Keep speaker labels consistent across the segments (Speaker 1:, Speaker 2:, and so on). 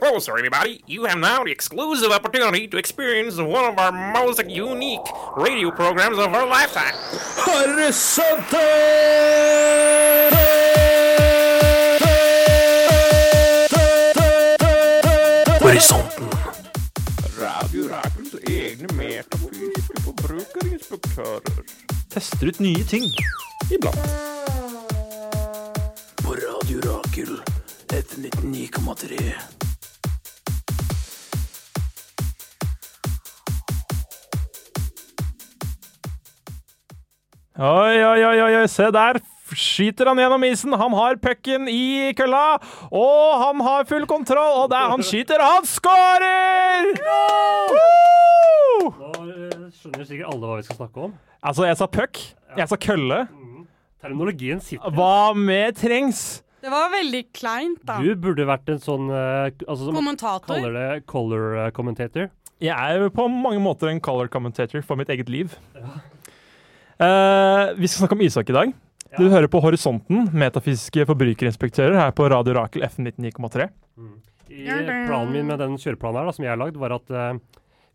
Speaker 1: closer, everybody. You have now the exclusive opportunity to experience one of our most unique radio programs of our lifetime.
Speaker 2: Horisonten.
Speaker 3: Tester ut nye ting.
Speaker 2: På Radio Rakel. etter 99,3.
Speaker 3: Oi, oi, oi, oi, oi, se der skyter han gjennom isen. Han har pucken i kølla, og han har full kontroll. Og der han skyter, han skårer! Woo!
Speaker 4: Da eh, skjønner jo sikkert alle hva vi skal snakke om.
Speaker 3: Altså, jeg sa puck. Jeg sa kølle.
Speaker 4: Terminologien sitter.
Speaker 3: Hva med trengs?
Speaker 5: Det var veldig kleint, da.
Speaker 4: Du burde vært en sånn eh, k- altså, som man
Speaker 5: Kommentator.
Speaker 4: kaller det color eh, commentator.
Speaker 3: Jeg er jo på mange måter en color commentator for mitt eget liv. Eh, vi skal snakke om ishockey i dag. Du hører på Horisonten, metafysiske forbrukerinspektører her på Radio Rakel F99,3.
Speaker 4: I planen min med den kjøreplanen her, da, som jeg har lagd, var at eh,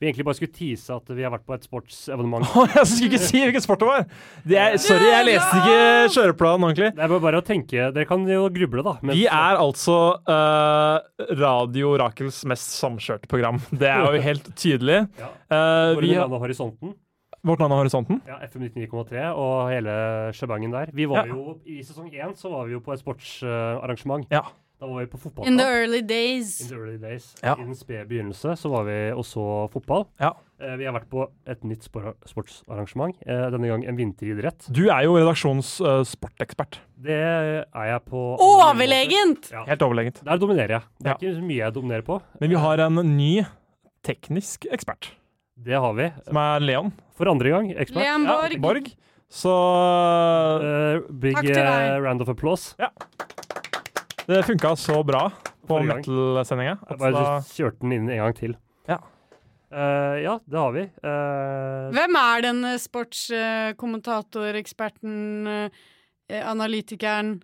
Speaker 4: vi egentlig bare skulle tease at vi har vært på et sportsevenement.
Speaker 3: Å, jeg skulle ikke si hvilken sport det var! Det er, sorry, jeg leste ikke kjøreplanen ordentlig.
Speaker 4: Det er bare, bare å tenke Dere kan jo gruble, da. mens-
Speaker 3: Vi er altså eh, Radio Rakels mest samkjørte program. Det er jo helt tydelig.
Speaker 4: ja,
Speaker 3: Eh,
Speaker 4: Hvor
Speaker 3: vi
Speaker 4: er
Speaker 3: har,
Speaker 4: navnet Horisonten?
Speaker 3: vårt navn er Horisonten.
Speaker 4: Ja, FM 99,3 og hele sjebangen der. Vi var
Speaker 3: Ja.
Speaker 4: jo, I sesong én så var vi jo på et sportsarrangement.
Speaker 3: Ja.
Speaker 4: Da var vi på
Speaker 5: In the
Speaker 4: fotballkamp.
Speaker 5: early days.
Speaker 4: In the early days.
Speaker 3: Ja.
Speaker 4: I den spede begynnelse så var vi også fotball.
Speaker 3: Ja.
Speaker 4: Eh, vi har vært på et nytt spor- sportsarrangement. Eh, denne gang en vinteridrett.
Speaker 3: Du er jo redaksjonens eh, sportekspert.
Speaker 4: Det er jeg på alle mulige måter.
Speaker 5: Overlegent!
Speaker 4: Ja.
Speaker 3: Helt overlegent.
Speaker 4: Der dominerer jeg. Det er
Speaker 3: Ja.
Speaker 4: ikke mye jeg dominerer på.
Speaker 3: Men vi har en ny teknisk ekspert,
Speaker 4: Det har vi.
Speaker 3: som er Leon
Speaker 4: For andre gang, ekspert.
Speaker 5: Leon Borg.
Speaker 3: Borg. Så
Speaker 4: Eh, big
Speaker 5: Takk til deg.
Speaker 4: eh, round of applause.
Speaker 3: det funka så bra på
Speaker 4: Forrige gang.
Speaker 3: metal-sendinga. at
Speaker 4: Jeg bare
Speaker 3: da-
Speaker 4: kjørte den inn en gang til.
Speaker 3: Ja.
Speaker 4: Eh, ja, det har vi. Eh,
Speaker 5: Hvem er den sportskommentator-eksperten, eh, analytikeren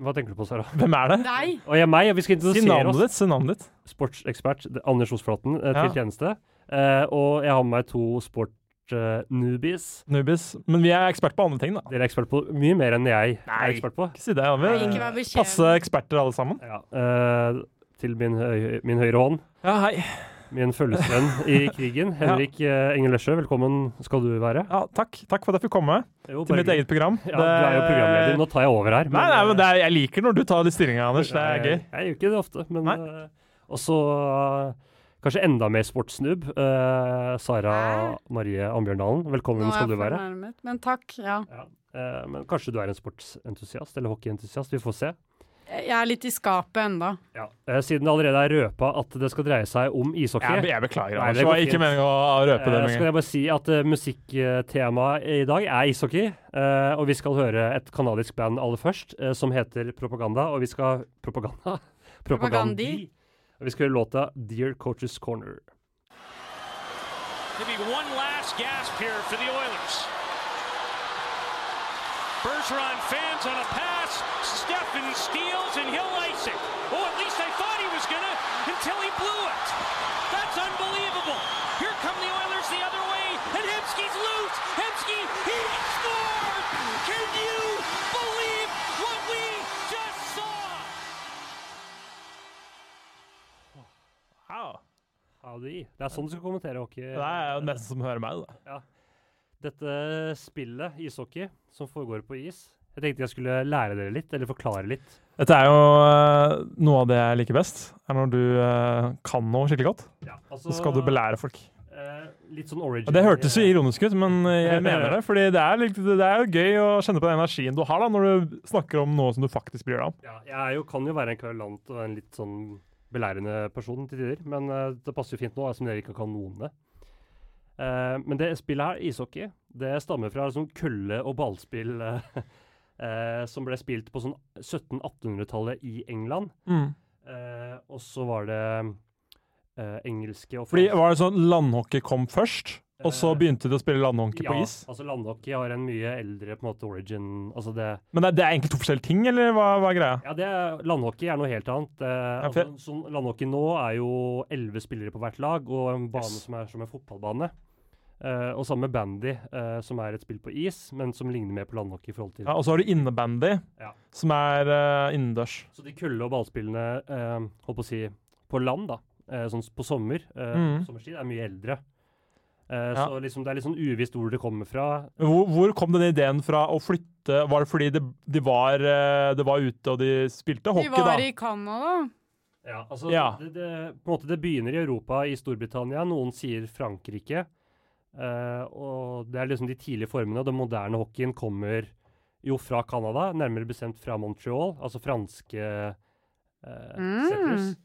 Speaker 4: hva tenker du på, Sara?
Speaker 3: Hvem er det?
Speaker 5: Deg?
Speaker 4: Og jeg, meg, vi skal
Speaker 3: Si
Speaker 4: introdusere
Speaker 3: navnet
Speaker 4: oss.
Speaker 3: ditt. Si navnet ditt.
Speaker 4: Sportsekspert det- Anders Osflaten eh, til
Speaker 3: Ja.
Speaker 4: tjeneste. Eh, og jeg har med meg to sport-newbies.
Speaker 3: Nubis. Men vi er ekspert på andre ting, da.
Speaker 4: Dere er ekspert på mye mer enn jeg er ekspert på.
Speaker 3: Ikke si det.
Speaker 5: Nei, ikke
Speaker 3: Vi passe
Speaker 5: vær beskjeden.
Speaker 3: eksperter alle sammen.
Speaker 4: Ja, eh, til min, høy, min høyre hånd,
Speaker 3: Ja, hei.
Speaker 4: min følgesvenn i krigen, Henrik ja. Engelesjø. Velkommen skal du være.
Speaker 3: Ja, takk. takk for at jeg fikk komme
Speaker 4: Jo,
Speaker 3: til
Speaker 4: bare
Speaker 3: mitt eget program.
Speaker 4: Ja, du er jo programleder. Nå tar jeg over her.
Speaker 3: Nei, nei, men det er, jeg liker når du tar de stillingene, Anders. Det er gøy.
Speaker 4: Jeg, jeg gjør ikke det ofte, men
Speaker 3: Nei.
Speaker 4: eh, også eh, kanskje enda mer sportsnubb. eh, Sara
Speaker 5: Hæ?
Speaker 4: Marie Ambjørndalen, velkommen
Speaker 5: Nå er
Speaker 4: skal du
Speaker 5: jeg
Speaker 4: være.
Speaker 5: fornærmet, men takk. Ja.
Speaker 4: Ja. eh, men kanskje du er en sportsentusiast eller hockeyentusiast. Vi får se.
Speaker 5: Jeg er litt i skapet enda.
Speaker 4: Ja. Eh, siden det allerede er røpa at det skal dreie seg om ishockey,
Speaker 3: Jeg, jeg beklager,
Speaker 4: Nei,
Speaker 3: Anders.
Speaker 4: det
Speaker 3: Det
Speaker 4: går
Speaker 3: var ikke
Speaker 4: fint.
Speaker 3: meningen å røpe det.
Speaker 4: eh,
Speaker 3: med en
Speaker 4: skal
Speaker 3: gang.
Speaker 4: jeg bare si at eh, musikktemaet i dag er ishockey. eh, og vi skal høre et kanadisk band aller først, eh, som heter Propaganda. Og vi skal Propaganda?
Speaker 5: Propagandi.
Speaker 4: Og vi skal høre låta Dear Coaches Corner.
Speaker 6: Maybe one last gasp here for the Oilers. Bergeron fans on a pass. Steffen steals and he'll ice it. Oh, at least I thought he was gonna until he blew it. That's unbelievable. Here come the Oilers the other way, and Hemsky's loose. Hemsky, he scored. Can you believe what we just saw?
Speaker 3: Wow.
Speaker 4: Howdy. Det er sånn du skal kommentere hockey.
Speaker 3: Det er jo nesten som å høre meg, da.
Speaker 4: Dette spillet, ishockey, som foregår på is Jeg tenkte jeg skulle lære dere litt, eller forklare litt.
Speaker 3: Dette er jo eh, noe av det jeg liker best. er Når du eh, kan noe skikkelig godt,
Speaker 4: altså,
Speaker 3: så skal du belære folk.
Speaker 4: eh, litt sånn origin.
Speaker 3: Og det hørtes jo ironisk ut, men eh, jeg mener det. fordi det er, litt- det er jo gøy å kjenne på den energien du har da, når du snakker om noe som du faktisk bryr deg om.
Speaker 4: Ja, jeg er jo, kan jo være en kverulant og en litt sånn belærende person til tider, men eh, det passer jo fint nå, som dere ikke kan noe om det. Eh, men det spillet her, ishockey, det stammer fra sånn kølle- og ballspill eh, eh, som ble spilt på sånn 1700-1800-tallet i England. Eh, og så var det eh, engelske og
Speaker 3: Fordi
Speaker 4: franske-
Speaker 3: Var det sånn landhockey kom først, Og så begynte de å spille landhåndke
Speaker 4: Eh, ja,
Speaker 3: på is?
Speaker 4: altså landhockey har en mye eldre på en måte origin. Altså det,
Speaker 3: Men det, det er egentlig to forskjellige ting, eller hva, hva er greia?
Speaker 4: ja, det er- landhockey er noe helt annet. Eh,
Speaker 3: for-
Speaker 4: altså, sånn, landhockey nå er jo elleve spillere på hvert lag, og en bane
Speaker 3: Yes.
Speaker 4: som er som en fotballbane. Eh, og samme bandy, eh, som er et spill på is, men som ligner mer på landhockey. i forhold til.
Speaker 3: Ja, og så har du innebandy,
Speaker 4: Ja.
Speaker 3: som er eh, innendørs.
Speaker 4: Så de kulde- og ballspillene eh, holdt på å si, på land, da, eh, sånn s- på sommer, eh,
Speaker 3: Mhm.
Speaker 4: sommerstid, er mye eldre. Eh,
Speaker 3: Ja.
Speaker 4: Så liksom, det er litt sånn uvisst hvor det kommer fra.
Speaker 3: Hvor, hvor kom den ideen fra å flytte? Var det fordi de, de, var, eh, de var ute og de spilte
Speaker 5: Vi
Speaker 3: hockey, da?
Speaker 5: var i Canada.
Speaker 4: Ja, altså
Speaker 3: Ja.
Speaker 4: Det, det, på en måte det begynner i Europa, i Storbritannia. Noen sier Frankrike. eh, og det er liksom de tidlige formene. Og den moderne hockeyen kommer jo fra Canada, nærmere bestemt fra Montreal, altså franske eh,
Speaker 5: Mm.
Speaker 4: settlers.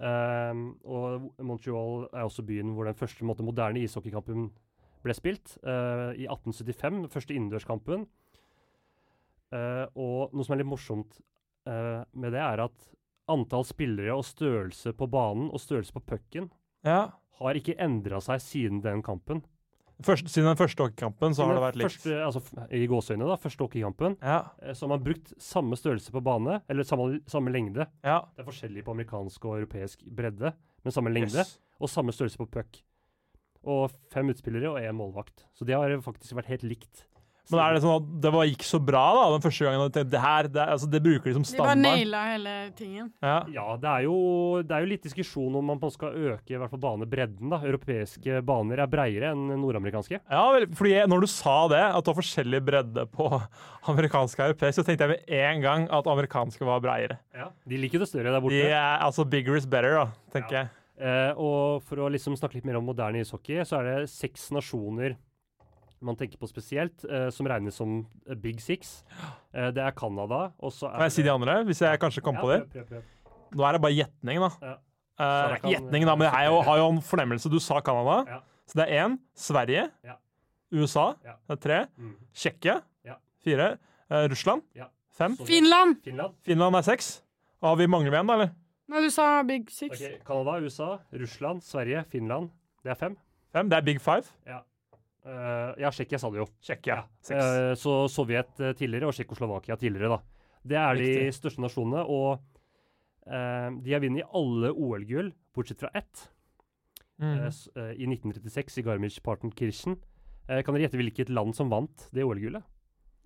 Speaker 4: Ehm, og Montreal er også byen hvor den første på en måte, moderne ishockeykampen ble spilt. eh, I 1875, den første innendørskampen. Eh, og noe som er litt morsomt eh, med det, er at antall spillere og størrelse på banen og størrelse på pucken
Speaker 3: Ja.
Speaker 4: har ikke endra seg siden den kampen.
Speaker 3: Først, siden den første hockeykampen så har det
Speaker 4: Den
Speaker 3: vært likt.
Speaker 4: Første, altså, f- I gåseøynene, da. Første hockeykampen.
Speaker 3: Ja,
Speaker 4: eh, Så har man brukt samme størrelse på bane, eller samme, samme lengde.
Speaker 3: ja.
Speaker 4: Det er forskjellig på amerikansk og europeisk bredde, men samme lengde. Og samme størrelse på puck. Og fem utspillere og én målvakt. Så det har faktisk vært helt likt.
Speaker 3: Men er det sånn at det var, gikk så bra da, den første gangen? og du tenkte, Det her, det, er- altså, det bruker de som
Speaker 5: Vi bare
Speaker 3: standard.
Speaker 5: naila hele tingen.
Speaker 3: Ja.
Speaker 4: Ja, det er jo, det er jo litt diskusjon om man skal øke i hvert fall banebredden. da. Europeiske baner er breiere enn nordamerikanske.
Speaker 3: Ja, vel, fordi jeg, når du sa det, at det var forskjellig bredde på amerikansk og europeisk, så tenkte jeg med en gang at amerikanske var breiere.
Speaker 4: De liker det større
Speaker 3: De
Speaker 4: der borte.
Speaker 3: er altså bigger is better, da, tenker jeg.
Speaker 4: Eh, og for å liksom snakke litt mer om moderne ishockey, så er det seks nasjoner man tenker på spesielt, eh, som regnes som eh, Big Six. Eh, det er Canada, og så er
Speaker 3: Kan jeg si de andre, hvis jeg kanskje kom på det?
Speaker 4: prøv, prøv, prøv.
Speaker 3: Nå er det bare gjetning, da.
Speaker 4: Ja.
Speaker 3: Eh,
Speaker 4: Så da kan-
Speaker 3: gjetning, da, men jeg har jo- har jo en fornemmelse. Du sa Canada.
Speaker 4: Ja.
Speaker 3: Så det er én. Sverige.
Speaker 4: Ja.
Speaker 3: USA.
Speaker 4: Ja.
Speaker 3: Det er tre.
Speaker 4: Mm.
Speaker 3: Tsjekkia.
Speaker 4: Ja.
Speaker 3: Fire. Eh, Russland.
Speaker 4: Ja.
Speaker 3: Fem.
Speaker 4: Så-
Speaker 5: Finland!
Speaker 4: Finland.
Speaker 3: Finland er seks. Og har vi mangler vi en, da, eller?
Speaker 5: Nei, du sa Big Six.
Speaker 4: Ok, Canada, USA, Russland, Sverige, Finland. Det er fem.
Speaker 3: Fem. Det er big five.
Speaker 4: Eh, ja, Tsjekkia sa det jo.
Speaker 3: Tsjekkia. Seks.
Speaker 4: Eh, så Sovjet eh, tidligere og Tsjekkoslovakia tidligere, da. Det er de
Speaker 3: Riktig.
Speaker 4: største nasjonene, og eh, de har vunnet alle OL-gull, bortsett fra ett. eh,
Speaker 3: mm.
Speaker 4: s- eh, i 1936 i Garmisch-Partenkirchen. Eh, kan dere gjette hvilket land som vant det OL-gullet?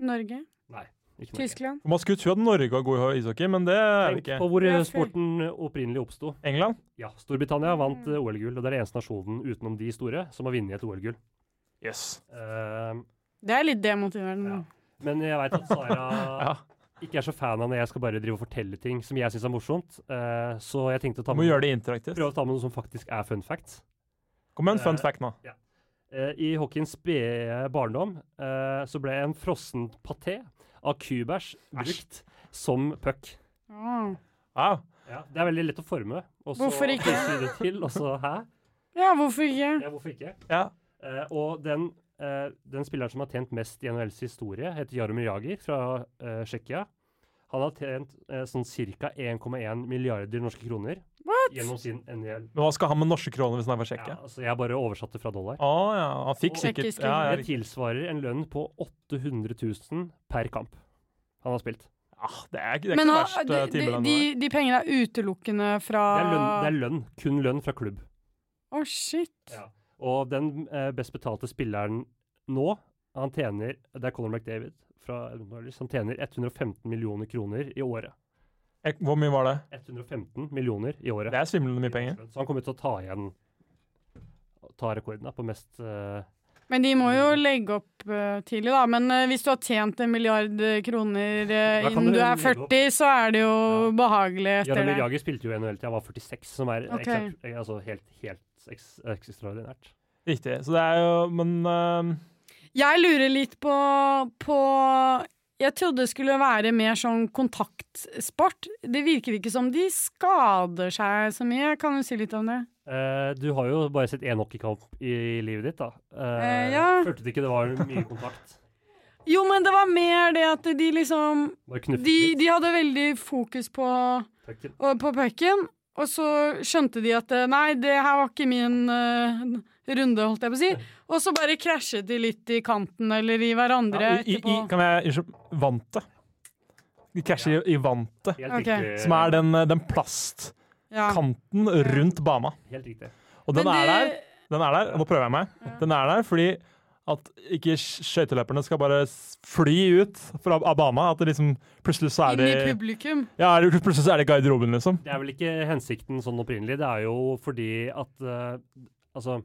Speaker 5: Norge.
Speaker 4: Ikke Norge.
Speaker 5: Tyskland.
Speaker 3: Man skulle tro at Norge var god i ishockey, men det er det
Speaker 4: Tenk
Speaker 3: ikke.
Speaker 4: på hvor eh,
Speaker 5: Ja, fair.
Speaker 4: sporten opprinnelig oppsto.
Speaker 3: England?
Speaker 4: Ja, Storbritannia vant
Speaker 5: Mm.
Speaker 4: eh, OL-gull, og det er den eneste nasjonen utenom de store som har vunnet et OL-gull.
Speaker 3: Yes.
Speaker 4: Eh,
Speaker 5: Det er litt demotiverende.
Speaker 4: Ja. men jeg veit at Sara
Speaker 3: Ja.
Speaker 4: ikke er så fan av når jeg skal bare drive og fortelle ting som jeg syns er morsomt, eh, så jeg tenkte å ta
Speaker 3: Må
Speaker 4: med,
Speaker 3: gjøre det interaktivt.
Speaker 4: prøve å ta med noe som faktisk er fun facts.
Speaker 3: Kom med en fun
Speaker 4: Eh,
Speaker 3: fact nå.
Speaker 4: Eh, I hockeyens spede barndom eh, så ble en frossen paté av kubæsj brukt som puck.
Speaker 5: Åh.
Speaker 3: Wow.
Speaker 4: Det er veldig lett å forme. Og så
Speaker 5: Hvorfor ikke?
Speaker 4: sy det til, og så hæ?
Speaker 5: Ja, hvorfor ikke?
Speaker 4: Ja, hvorfor ikke?
Speaker 3: Ja.
Speaker 4: Eh, og den, eh, den spilleren som har tjent mest i NHLs historie, heter Jaromir Jagr fra eh, Tsjekkia. Han har tjent eh, sånn ca. 1,1 milliarder norske kroner gjennom sin NHL.
Speaker 3: Men hva skal han med norske kroner hvis han er fra
Speaker 4: Ja,
Speaker 3: Tsjekkia?
Speaker 4: altså jeg bare oversatte fra dollar.
Speaker 3: Å ja, han fikk sikkert
Speaker 5: Tsjekkisk
Speaker 3: ja, ja,
Speaker 4: Det
Speaker 3: riktig.
Speaker 4: tilsvarer en lønn på 800 000 per kamp han har spilt.
Speaker 3: ja, Ah, Det er, ikke- det er
Speaker 5: Men
Speaker 3: ikke
Speaker 5: ha,
Speaker 3: verst
Speaker 5: de,
Speaker 3: eh,
Speaker 5: de,
Speaker 3: timelønn.
Speaker 5: de,
Speaker 3: det.
Speaker 5: de pengene er utelukkende fra
Speaker 4: Det er
Speaker 5: Å,
Speaker 4: lønn, det er lønn kun lønn fra klubb.
Speaker 5: shit.
Speaker 4: Og den eh, best betalte spilleren nå, han tjener Det er Conor McDavid fra Edmonton Oilers. Han tjener 115 millioner kroner i året.
Speaker 3: Eh, Hvor mye var det?
Speaker 4: 115 millioner i året.
Speaker 3: Det er svimlende mye penger.
Speaker 4: Så han kommer til å ta igjen Ta rekorden da, på mest eh,
Speaker 5: Men de må jo
Speaker 4: Mm.
Speaker 5: legge opp eh, tidlig, da. Men eh, hvis du har tjent en milliard eh, kroner eh,
Speaker 4: Da kan
Speaker 5: innen
Speaker 4: du
Speaker 5: du er
Speaker 4: legge opp.
Speaker 5: 40, så er det jo behagelig etter
Speaker 4: Jaromir
Speaker 5: det.
Speaker 4: Jagr spilte jo i NHL til han var 46, som er
Speaker 5: Ok.
Speaker 4: eksept- eh, altså helt, helt eks, ekstraordinært.
Speaker 3: Riktig. Så det er jo Men eh,
Speaker 5: Jeg lurer litt på, på Jeg trodde det skulle være mer sånn kontaktsport. Det virker ikke som de skader seg så mye. Kan du si litt om det?
Speaker 4: Eh, du har jo bare sett én hockeykamp i livet ditt, da. Eh,
Speaker 5: Eh, ja.
Speaker 4: Følte du ikke det var mye kontakt?
Speaker 5: Jo, men det var mer det at de liksom
Speaker 4: Bare knuffet
Speaker 5: De,
Speaker 4: litt,
Speaker 5: de hadde veldig fokus på,
Speaker 4: pucken.
Speaker 5: på pucken, Og så skjønte de at eh, nei, det her var ikke min eh, runde, holdt jeg på å si. Og så bare krasjet de litt i kanten eller i hverandre
Speaker 3: Ja, i, i,
Speaker 5: etterpå.
Speaker 3: i, kan jeg Unnskyld. Vantet. De krasjer i- i vantet,
Speaker 4: Helt
Speaker 5: Ok.
Speaker 4: riktig.
Speaker 3: som er den, eh, den plastkanten
Speaker 5: ja.
Speaker 3: rundt bana.
Speaker 4: Helt riktig.
Speaker 3: Og den er der. Den er der. Nå prøver jeg meg. Den er der fordi at ikke sk- skøyteløperne skal bare s- fly ut fra av bana. At det liksom plutselig så er
Speaker 5: Inn
Speaker 3: de
Speaker 5: i publikum.
Speaker 3: Ja, er det- plutselig så er det i garderoben, liksom.
Speaker 4: Det er vel ikke hensikten sånn opprinnelig. Det er jo fordi at eh, Altså,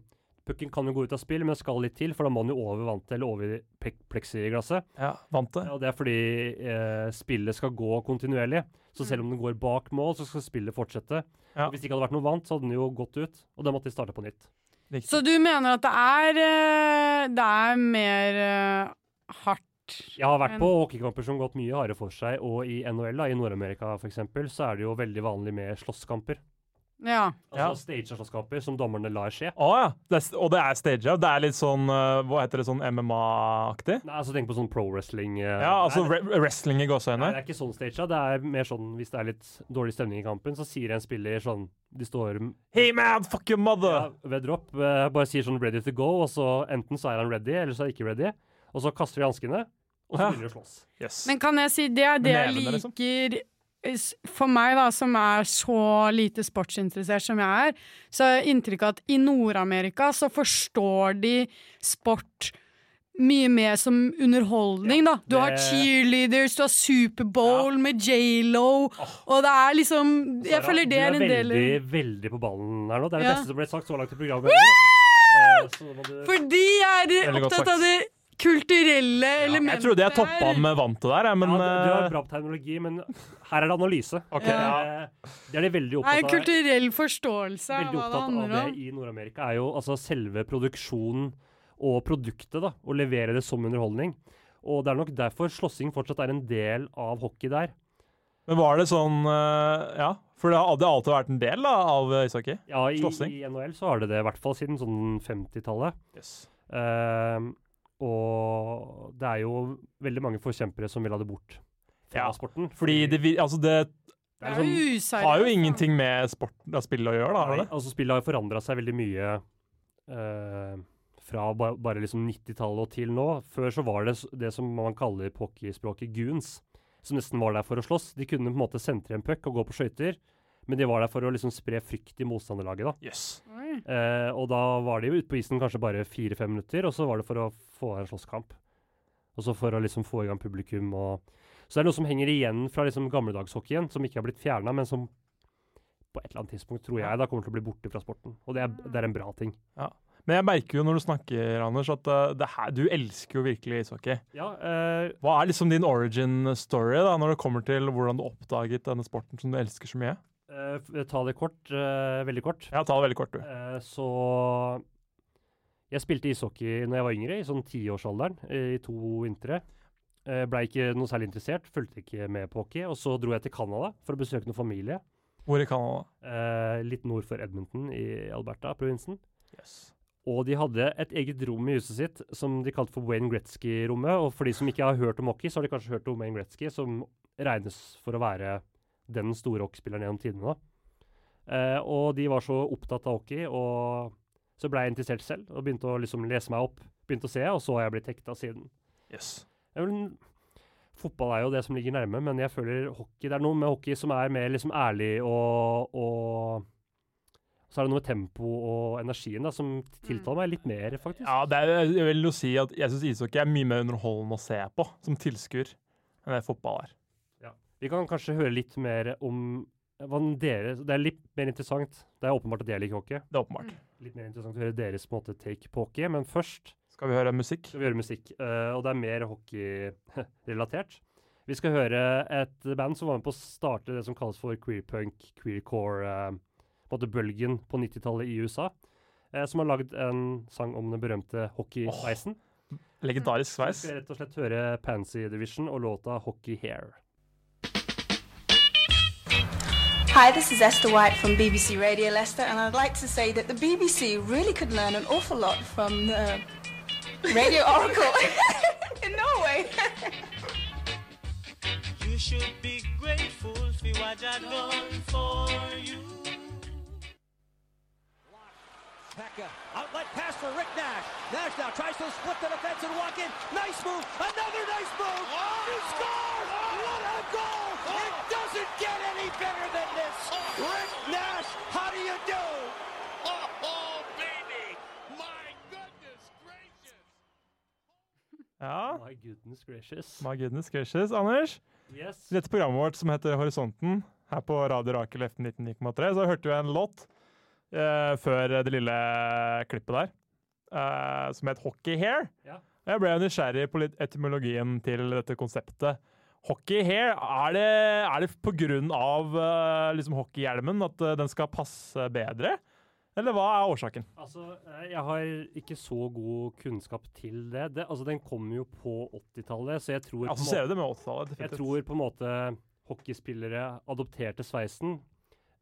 Speaker 4: pucken kan jo gå ut av spill, men det skal litt til, for da må den jo over vantet eller over i plek- pleksiglasset.
Speaker 3: Ja, vant det.
Speaker 4: Og det er fordi eh, spillet skal gå kontinuerlig. Så selv om den går bak mål, så skal spillet fortsette.
Speaker 3: Ja.
Speaker 4: Hvis det ikke hadde vært noe vant, så hadde den jo gått ut, og da måtte de starte på nytt.
Speaker 5: Så du mener at det er eh, Det er mer eh, hardt
Speaker 4: Jeg har vært
Speaker 5: Men-
Speaker 4: på hockeykamper som har gått mye hardere for seg, og i NHL, da, i Nord-Amerika f.eks., så er det jo veldig vanlig med slåsskamper.
Speaker 5: Ja.
Speaker 4: Altså
Speaker 3: Ja.
Speaker 4: staged slåsskamper som dommerne lar skje.
Speaker 3: Å ja. Det er, og det er staged. Det er litt sånn eh, Hva heter det, sånn MMA-aktig?
Speaker 4: Nei, altså tenk på sånn pro wrestling. eh,
Speaker 3: Ja, altså
Speaker 4: nei,
Speaker 3: re wrestling i
Speaker 4: Nei,
Speaker 3: gåseøyne.
Speaker 4: det er ikke sånn staged. Det er mer sånn hvis det er litt dårlig stemning i kampen, så sier en spiller sånn De står
Speaker 3: Hey man, fuck your
Speaker 4: ja,
Speaker 3: mother!
Speaker 4: ved drop, eh, bare sier sånn 'ready to go', og så enten så er han ready, eller så er han ikke ready. Og så kaster de hanskene, og så
Speaker 3: Ja.
Speaker 4: begynner de å slåss.
Speaker 3: Yes.
Speaker 5: Men kan jeg si det er det jeg
Speaker 3: Nevene, liksom.
Speaker 5: liker s- For meg, da, som er så lite sportsinteressert som jeg er, så har jeg inntrykk av at i Nord-Amerika så forstår de sport mye mer som underholdning, da. Du har
Speaker 4: det-
Speaker 5: cheerleaders, du har Superbowl med J.Lo, og det er liksom
Speaker 4: Sara,
Speaker 5: Jeg føler det er en del
Speaker 4: Du er veldig, veldig på ballen her nå. Det er det
Speaker 5: Ja.
Speaker 4: beste som ble sagt så langt i programmet. Eh, så må du-
Speaker 5: Fordi jeg er
Speaker 3: Veldig godt
Speaker 5: opptatt
Speaker 3: sagt.
Speaker 5: av det kulturelle
Speaker 3: Jeg
Speaker 5: elementet
Speaker 3: trodde jeg toppa
Speaker 5: her.
Speaker 3: han med vantet der, jeg, men
Speaker 4: ja, du, du har
Speaker 3: eh,
Speaker 4: bra på terminologi, men her er det analyse. Eh, Det er de veldig
Speaker 5: Det er en
Speaker 4: opptatt av.
Speaker 5: kulturell forståelse av
Speaker 4: Veldig
Speaker 5: hva det
Speaker 4: opptatt av
Speaker 5: handler
Speaker 4: det
Speaker 5: om.
Speaker 4: i Nord-Amerika er jo altså selve produksjonen og produktet, da. Å levere det som underholdning. Og det er nok derfor slåssing fortsatt er en del av hockey der.
Speaker 3: Men var det sånn eh, Ja. For det har aldri- alltid vært en del da, av eh, ishockey.
Speaker 4: Ja, i,
Speaker 3: Slåssing?
Speaker 4: i NHL så har det det, i hvert fall siden sånn 50-tallet. Ehm, og det er jo veldig mange forkjempere som vil ha det bort fra
Speaker 3: Ja,
Speaker 4: sporten.
Speaker 3: Fordi det, vi- altså, det
Speaker 5: Det er jo useriøst.
Speaker 3: sånn- har jo
Speaker 5: da.
Speaker 3: ingenting med sport av spillet å gjøre, da? har
Speaker 4: Nei,
Speaker 3: det?
Speaker 4: altså spillet har jo forandra seg veldig mye eh, fra ba bare liksom 90-tallet og til nå. Før så var det s- det som man kaller på hockeyspråket goons, som nesten var der for å slåss. De kunne på en måte sentre en puck og gå på skøyter, men de var der for å liksom spre frykt i motstanderlaget, da.
Speaker 3: Yes.
Speaker 5: Oi.
Speaker 4: Eh, og da var de jo ute på isen kanskje bare fire-fem minutter, og så var det for å få en slåsskamp. Og så for å liksom få i gang publikum og Så det er noe som henger igjen fra liksom gamledagshockeyen, som ikke har blitt fjerna, men som på et eller annet tidspunkt, tror jeg, da kommer til å bli borte fra sporten. Og det er, det er en bra ting.
Speaker 3: Men jeg merker jo når du snakker, Anders, at eh, det her, du elsker jo virkelig ishockey.
Speaker 4: Ja, eh,
Speaker 3: Hva er liksom din origin story da, når det kommer til hvordan du oppdaget denne sporten som du elsker så mye?
Speaker 4: ta det kort. eh, veldig kort.
Speaker 3: Ja, ta det veldig kort, du.
Speaker 4: Eh, så Jeg spilte ishockey når jeg var yngre, i sånn tiårsalderen, eh, i to vintre. Eh, Blei ikke noe særlig interessert, fulgte ikke med på hockey. Og så dro jeg til Canada for å besøke noen familie.
Speaker 3: Hvor i Canada?
Speaker 4: eh, litt nord for Edmonton i Alberta-provinsen. Og de hadde et eget rom i huset sitt som de kalte for Wayne Gretzky-rommet. Og for de som ikke har hørt om hockey, så har de kanskje hørt om Wayne Gretzky, som regnes for å være den store hockeyspilleren gjennom tidene. da. Eh, og de var så opptatt av hockey, og så ble jeg interessert selv og begynte å liksom lese meg opp. Begynte å se, og så har jeg blitt hekta siden. Jeg vil, fotball er jo det som ligger nærme, men jeg føler hockey Det er noe med hockey som er mer liksom ærlig og, og Så er det noe med tempo og energien da, som tiltaler meg litt mer, faktisk.
Speaker 3: Ja, det er, jeg vil jo si at jeg syns ishockey er mye mer underholdende å se på som tilskuer enn det fotball er.
Speaker 4: Vi kan kanskje høre litt mer om hva dere Det er litt mer interessant. Det er åpenbart at jeg liker hockey.
Speaker 3: Det er åpenbart.
Speaker 4: Litt mer interessant å høre deres på en måte, take på hockey, men først
Speaker 3: Skal vi høre musikk?
Speaker 4: skal vi gjøre musikk. eh, og det er mer hockeyrelatert. Vi skal høre et band som var med på å starte det som kalles for queerpunk, queercore-bølgen eh, på 90-tallet i USA. eh, som har lagd en sang om den berømte hockeysveisen.
Speaker 3: Legendarisk
Speaker 4: Vi
Speaker 3: sveis.
Speaker 4: skal rett og slett høre Pansy Division og låta Hockey Hair.
Speaker 7: Hi, this is Esther White from BBC Radio Leicester, and I'd like to say that the BBC really could learn an awful lot from the Radio Oracle in Norway.
Speaker 8: You should be grateful for what I've done for you. Tanaka. Outlet pass for Rick Nash. Nash now tries to split the defense and walk in. Nice move. Another nice move. You score. What a goal. It doesn't get any better than this. Rick Nash, how do you do?
Speaker 3: Ja.
Speaker 4: My goodness gracious.
Speaker 3: My goodness gracious. Anders,
Speaker 4: Yes.
Speaker 3: i dette programmet vårt som heter Horisonten, her på Radio Rakel F 1993, så hørte vi en låt eh, før det lille klippet der, eh, som het Hockey Hair.
Speaker 4: Ja.
Speaker 3: Jeg ble jo nysgjerrig på litt etymologien til dette konseptet. Hockey hair, er det, er det på grunn av eh, liksom hockeyhjelmen at eh, den skal passe bedre? Eller hva er årsaken?
Speaker 4: Altså, eh, jeg har ikke så god kunnskap til det. det altså, den kom jo på 80-tallet, så jeg tror på en måte-
Speaker 3: Assosierer Altså, det med 80-tallet.
Speaker 4: Jeg
Speaker 3: definitivt.
Speaker 4: tror på en måte hockeyspillere adopterte sveisen.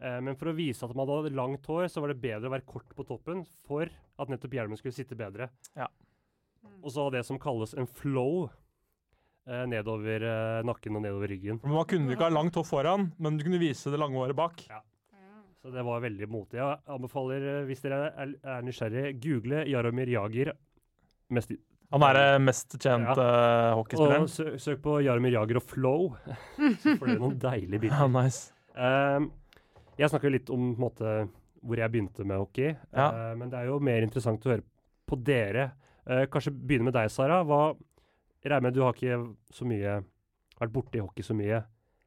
Speaker 4: Eh, men for å vise at man hadde langt hår, så var det bedre å være kort på toppen for at nettopp hjelmen skulle sitte bedre.
Speaker 3: Ja.
Speaker 4: Og så det som kalles en flow eh, nedover eh, nakken og nedover ryggen.
Speaker 3: Men Man kunne jo ikke ha langt hår foran, men du kunne vise det lange håret bak.
Speaker 4: Så det var veldig motig. Jeg anbefaler, eh, hvis dere er, er nysgjerrige, google Jaromir Jager. Mest,
Speaker 3: Han er den mest kjente eh, hockeyspilleren.
Speaker 4: og sø, søk på Jaromir Jager og flow, så får dere noen deilige bilder.
Speaker 3: Ja, nice.
Speaker 4: Ehm, jeg snakker jo litt om på en måte, hvor jeg begynte med hockey,
Speaker 3: Ja.
Speaker 4: Ehm, men det er jo mer interessant å høre på dere. Eh, kanskje begynne med deg, Sara. Hva, jeg regner med du har ikke så mye vært borti hockey så mye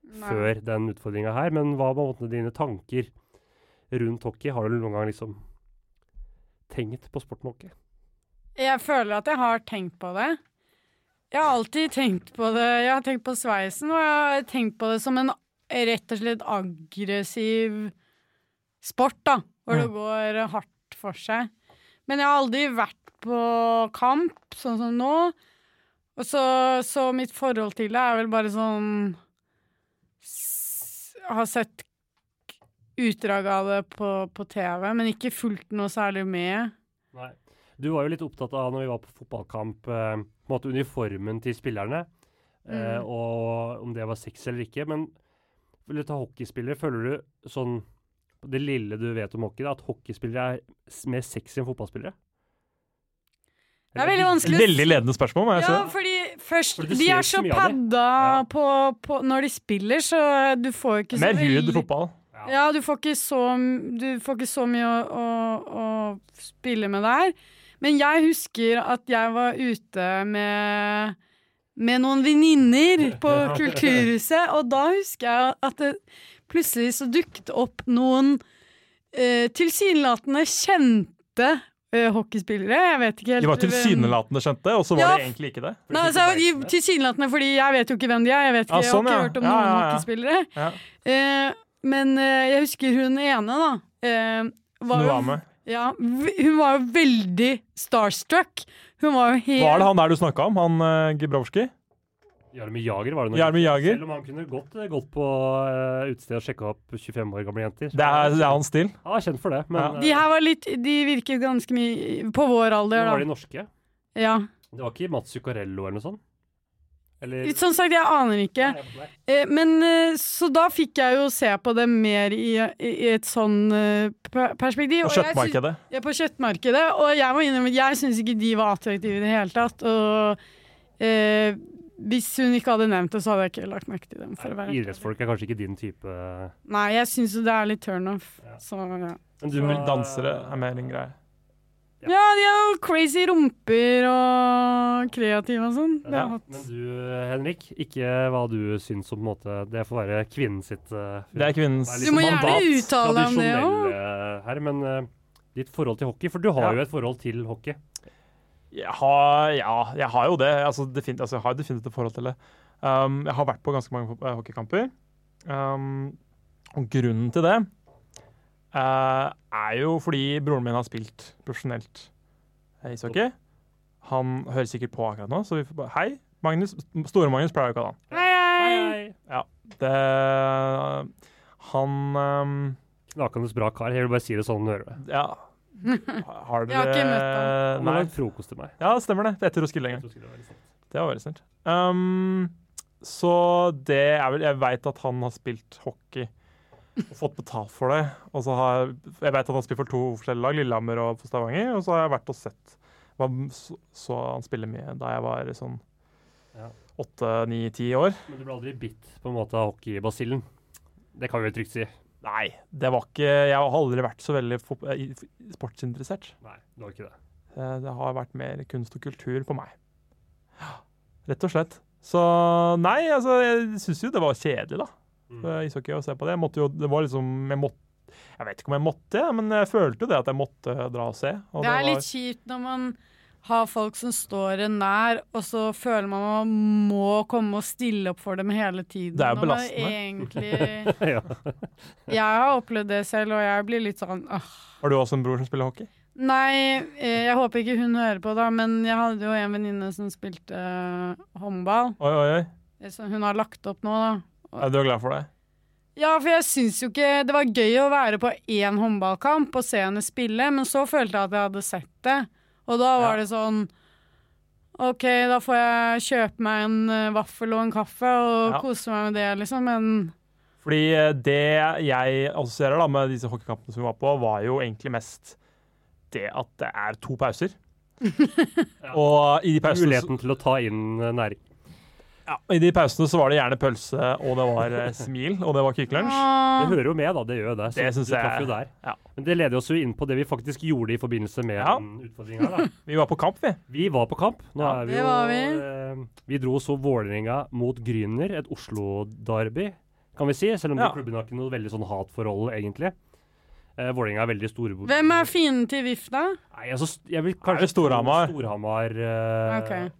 Speaker 5: Nei.
Speaker 4: før den utfordringa her, men hva var på en måte dine tanker rundt hockey? Har du noen gang liksom tenkt på sporten hockey?
Speaker 5: Jeg føler at jeg har tenkt på det. Jeg har alltid tenkt på det. Jeg har tenkt på sveisen, og jeg har tenkt på det som en rett og slett aggressiv sport, da. Hvor det går hardt for seg. Men jeg har aldri vært på kamp, sånn som nå. Og så, så mitt forhold til det er vel bare sånn s- Har sett k- utdrag av det på, på TV, men ikke fulgt noe særlig med.
Speaker 4: Nei. Du var jo litt opptatt av, når vi var på fotballkamp, eh, på en måte uniformen til spillerne, eh,
Speaker 5: Mm.
Speaker 4: og om det var sexy eller ikke. Men vil du ta hockeyspillere, føler du sånn på det lille du vet om hockey, da, at hockeyspillere er s- mer sexy enn fotballspillere?
Speaker 5: Det er veldig vanskelig å
Speaker 3: Veldig ledende spørsmål, må jeg si.
Speaker 5: Ja, fordi først
Speaker 4: Altså, Fordi du
Speaker 5: De
Speaker 4: ser ikke
Speaker 5: er
Speaker 4: så
Speaker 5: så
Speaker 4: mye av det.
Speaker 5: padda
Speaker 4: Ja.
Speaker 5: på, på Når de spiller, så du får ikke så
Speaker 3: Mer hud
Speaker 5: veldig-
Speaker 3: i fotball.
Speaker 5: Ja, du får ikke så, du får ikke så mye å, å, å spille med der. Men jeg husker at jeg var ute med med noen venninner på Kulturhuset, og da husker jeg at det plutselig så dukket opp noen eh, tilsynelatende kjente eh, hockeyspillere. Jeg vet ikke helt
Speaker 3: De var
Speaker 5: hvem-
Speaker 3: tilsynelatende kjente, og så var
Speaker 5: Ja,
Speaker 3: de egentlig ikke det.
Speaker 5: Nei, altså, de- Tilsynelatende fordi jeg vet jo ikke hvem de er. Jeg vet
Speaker 3: Ja,
Speaker 5: ikke,
Speaker 3: sånn,
Speaker 5: jeg
Speaker 3: ja.
Speaker 5: har ikke hørt om
Speaker 3: Ja,
Speaker 5: noen
Speaker 3: ja, ja.
Speaker 5: hockeyspillere.
Speaker 3: Ja.
Speaker 5: Eh, men eh, jeg husker hun ene, da. eh, var
Speaker 3: Du
Speaker 5: jo-
Speaker 3: var, med.
Speaker 5: Ja, v- hun var jo veldig starstruck. Hun var jo helt
Speaker 3: var det han der du snakka om? Han uh, Gibrowski?
Speaker 4: Jaromir Jager var det nok.
Speaker 3: Jarmi Jager?
Speaker 4: Selv om han kunne godt eh, gått på uh, utestedet og sjekka opp 25 år gamle jenter.
Speaker 3: Det er, det er hans stil.
Speaker 4: Han er kjent for det, men
Speaker 3: Ja.
Speaker 4: eh,
Speaker 5: De her var litt De virket ganske mye på
Speaker 4: nå
Speaker 5: vår
Speaker 4: var
Speaker 5: alder,
Speaker 4: de
Speaker 5: da.
Speaker 4: norske.
Speaker 5: Ja.
Speaker 4: Det var ikke Mats Zuccarello eller noe sånt? Eller
Speaker 5: Sånn sagt, jeg aner ikke.
Speaker 4: Nei,
Speaker 5: Eh, men eh, så da fikk jeg jo se på det mer i, i i et sånn eh, per- perspektiv.
Speaker 3: Og
Speaker 5: jeg syns-
Speaker 3: kjøttmarkedet.
Speaker 5: Jeg er på kjøttmarkedet, og jeg må innrømme at jeg syns ikke de var attraktive i det hele tatt. Og eh, hvis hun ikke hadde nevnt det, så hadde jeg ikke lagt merke til dem. For å være. helt ærlig.
Speaker 4: Idrettsfolk er kanskje ikke din type eh,
Speaker 5: Nei, jeg syns jo det er litt turnoff. Så ja.
Speaker 4: Men
Speaker 3: Du vil dansere er mer en greie.
Speaker 5: Ja, de har jo crazy rumper og kreative og sånn. Det har jeg hatt.
Speaker 4: Men du, Henrik, ikke hva du syns om på en måte Det får være kvinnen sitt eh,
Speaker 3: Det er kvinnens
Speaker 4: Det er
Speaker 5: Du må gjerne
Speaker 3: sånn mandat.
Speaker 5: uttale deg om det òg.
Speaker 4: tradisjonelle her, men eh, ditt forhold til hockey, for du har
Speaker 3: Ja.
Speaker 4: jo et forhold til hockey.
Speaker 3: Jeg har, ja, jeg har jo det. Altså, defin- altså, jeg har definitivt et forhold til det. Um, jeg har vært på ganske mange ho- hockeykamper. Um, og grunnen til det eh, er jo fordi broren min har spilt profesjonelt eh, ishockey. Han hører sikkert på akkurat nå, så vi får bare Hei, Magnus. Store-Magnus pleier jo ikke å ha han.
Speaker 5: Hei, hei.
Speaker 3: Det Han um,
Speaker 4: Knakende bra kar. Jeg vil bare si det sånn du hører det.
Speaker 3: Ja. Har dere
Speaker 5: Jeg har ikke
Speaker 4: Han
Speaker 5: møtt
Speaker 4: har
Speaker 3: Eh, Nei.
Speaker 4: lagd frokost til meg.
Speaker 3: Ja, det stemmer det. Etter Roskilde en gang.
Speaker 4: Jeg tror ikke det var litt sant.
Speaker 3: Det var veldig snilt. Um, så det er vel Jeg veit at han har spilt hockey. og fått betalt for det. Og så har jeg, jeg vet at han har spilt for to forskjellige lag, Lillehammer og for Stavanger, og så har jeg vært og sett hva så, så han spille med da jeg var sånn
Speaker 4: Ja.
Speaker 3: åtte, ni, ti år.
Speaker 4: Men du ble aldri bitt på en måte av hockeybasillen. Det kan vi vel trygt si.
Speaker 3: Nei, det var ikke Jeg har aldri vært så veldig fot- eh, i- sportsinteressert.
Speaker 4: Nei, det var ikke det.
Speaker 3: Eh, Det har vært mer kunst og kultur på meg. Rett og slett. Så nei, altså, jeg syns jo det var kjedelig, da. eh, Ishockey å se på det. Jeg måtte jo, det var liksom jeg, måtte, jeg vet ikke om jeg måtte, men jeg følte jo det at jeg måtte dra og se. Og
Speaker 5: Det er
Speaker 3: var-
Speaker 5: litt kjipt når man har folk som står en nær, og så føler man man må komme og stille opp for dem hele tiden.
Speaker 3: Det er jo
Speaker 5: når man
Speaker 3: belastende.
Speaker 5: Egentlig,
Speaker 4: ja.
Speaker 5: jeg har opplevd det selv, og jeg blir litt sånn åh.
Speaker 3: Har du også en bror som spiller hockey?
Speaker 5: Nei, eh, jeg håper ikke hun hører på, da, men jeg hadde jo en venninne som spilte eh, håndball.
Speaker 3: Oi, oi, oi.
Speaker 5: Det som hun har lagt opp nå, da.
Speaker 3: Er du glad for det?
Speaker 5: Ja, for jeg syns jo ikke Det var gøy å være på én håndballkamp og se henne spille, men så følte jeg at jeg hadde sett det. Og da var det sånn OK, da får jeg kjøpe meg en eh, vaffel og en kaffe og
Speaker 3: Ja.
Speaker 5: kose meg med det, liksom, men
Speaker 3: Fordi eh, det jeg assosierer da med disse hockeykampene som vi var på, var jo egentlig mest det at det er to pauser. Og i de pausene, så,
Speaker 4: Muligheten til å ta inn eh, næring.
Speaker 3: ja, i de pausene så var det gjerne pølse, og det var eh, smil, og det var Kvikk Lunsj.
Speaker 5: Åh.
Speaker 4: Det hører jo med, da. Det gjør jo det. Så
Speaker 3: Det synes
Speaker 4: du traff
Speaker 3: jeg-
Speaker 4: jo der.
Speaker 3: ja.
Speaker 4: Men det leder oss jo inn på det vi faktisk gjorde i forbindelse med
Speaker 3: Ja.
Speaker 4: den utfordringen her, da.
Speaker 3: Vi var på kamp, vi.
Speaker 4: Vi var på kamp. Nå
Speaker 3: Ja,
Speaker 4: er vi
Speaker 5: det
Speaker 4: jo
Speaker 5: var vi.
Speaker 4: Eh, Vi dro så Vålerenga mot Gryner, et Oslo-derby, kan vi si. Selv om
Speaker 3: Ja.
Speaker 4: de klubbene har ikke noe veldig sånn hatforhold, egentlig. Eh, Vålerenga er veldig store
Speaker 5: Hvem er fienden til VIF, da?
Speaker 4: Nei, altså, st- jeg vil
Speaker 3: Er det
Speaker 4: kanskje
Speaker 3: Storhamar?
Speaker 4: Storhamar eh,
Speaker 5: Ok.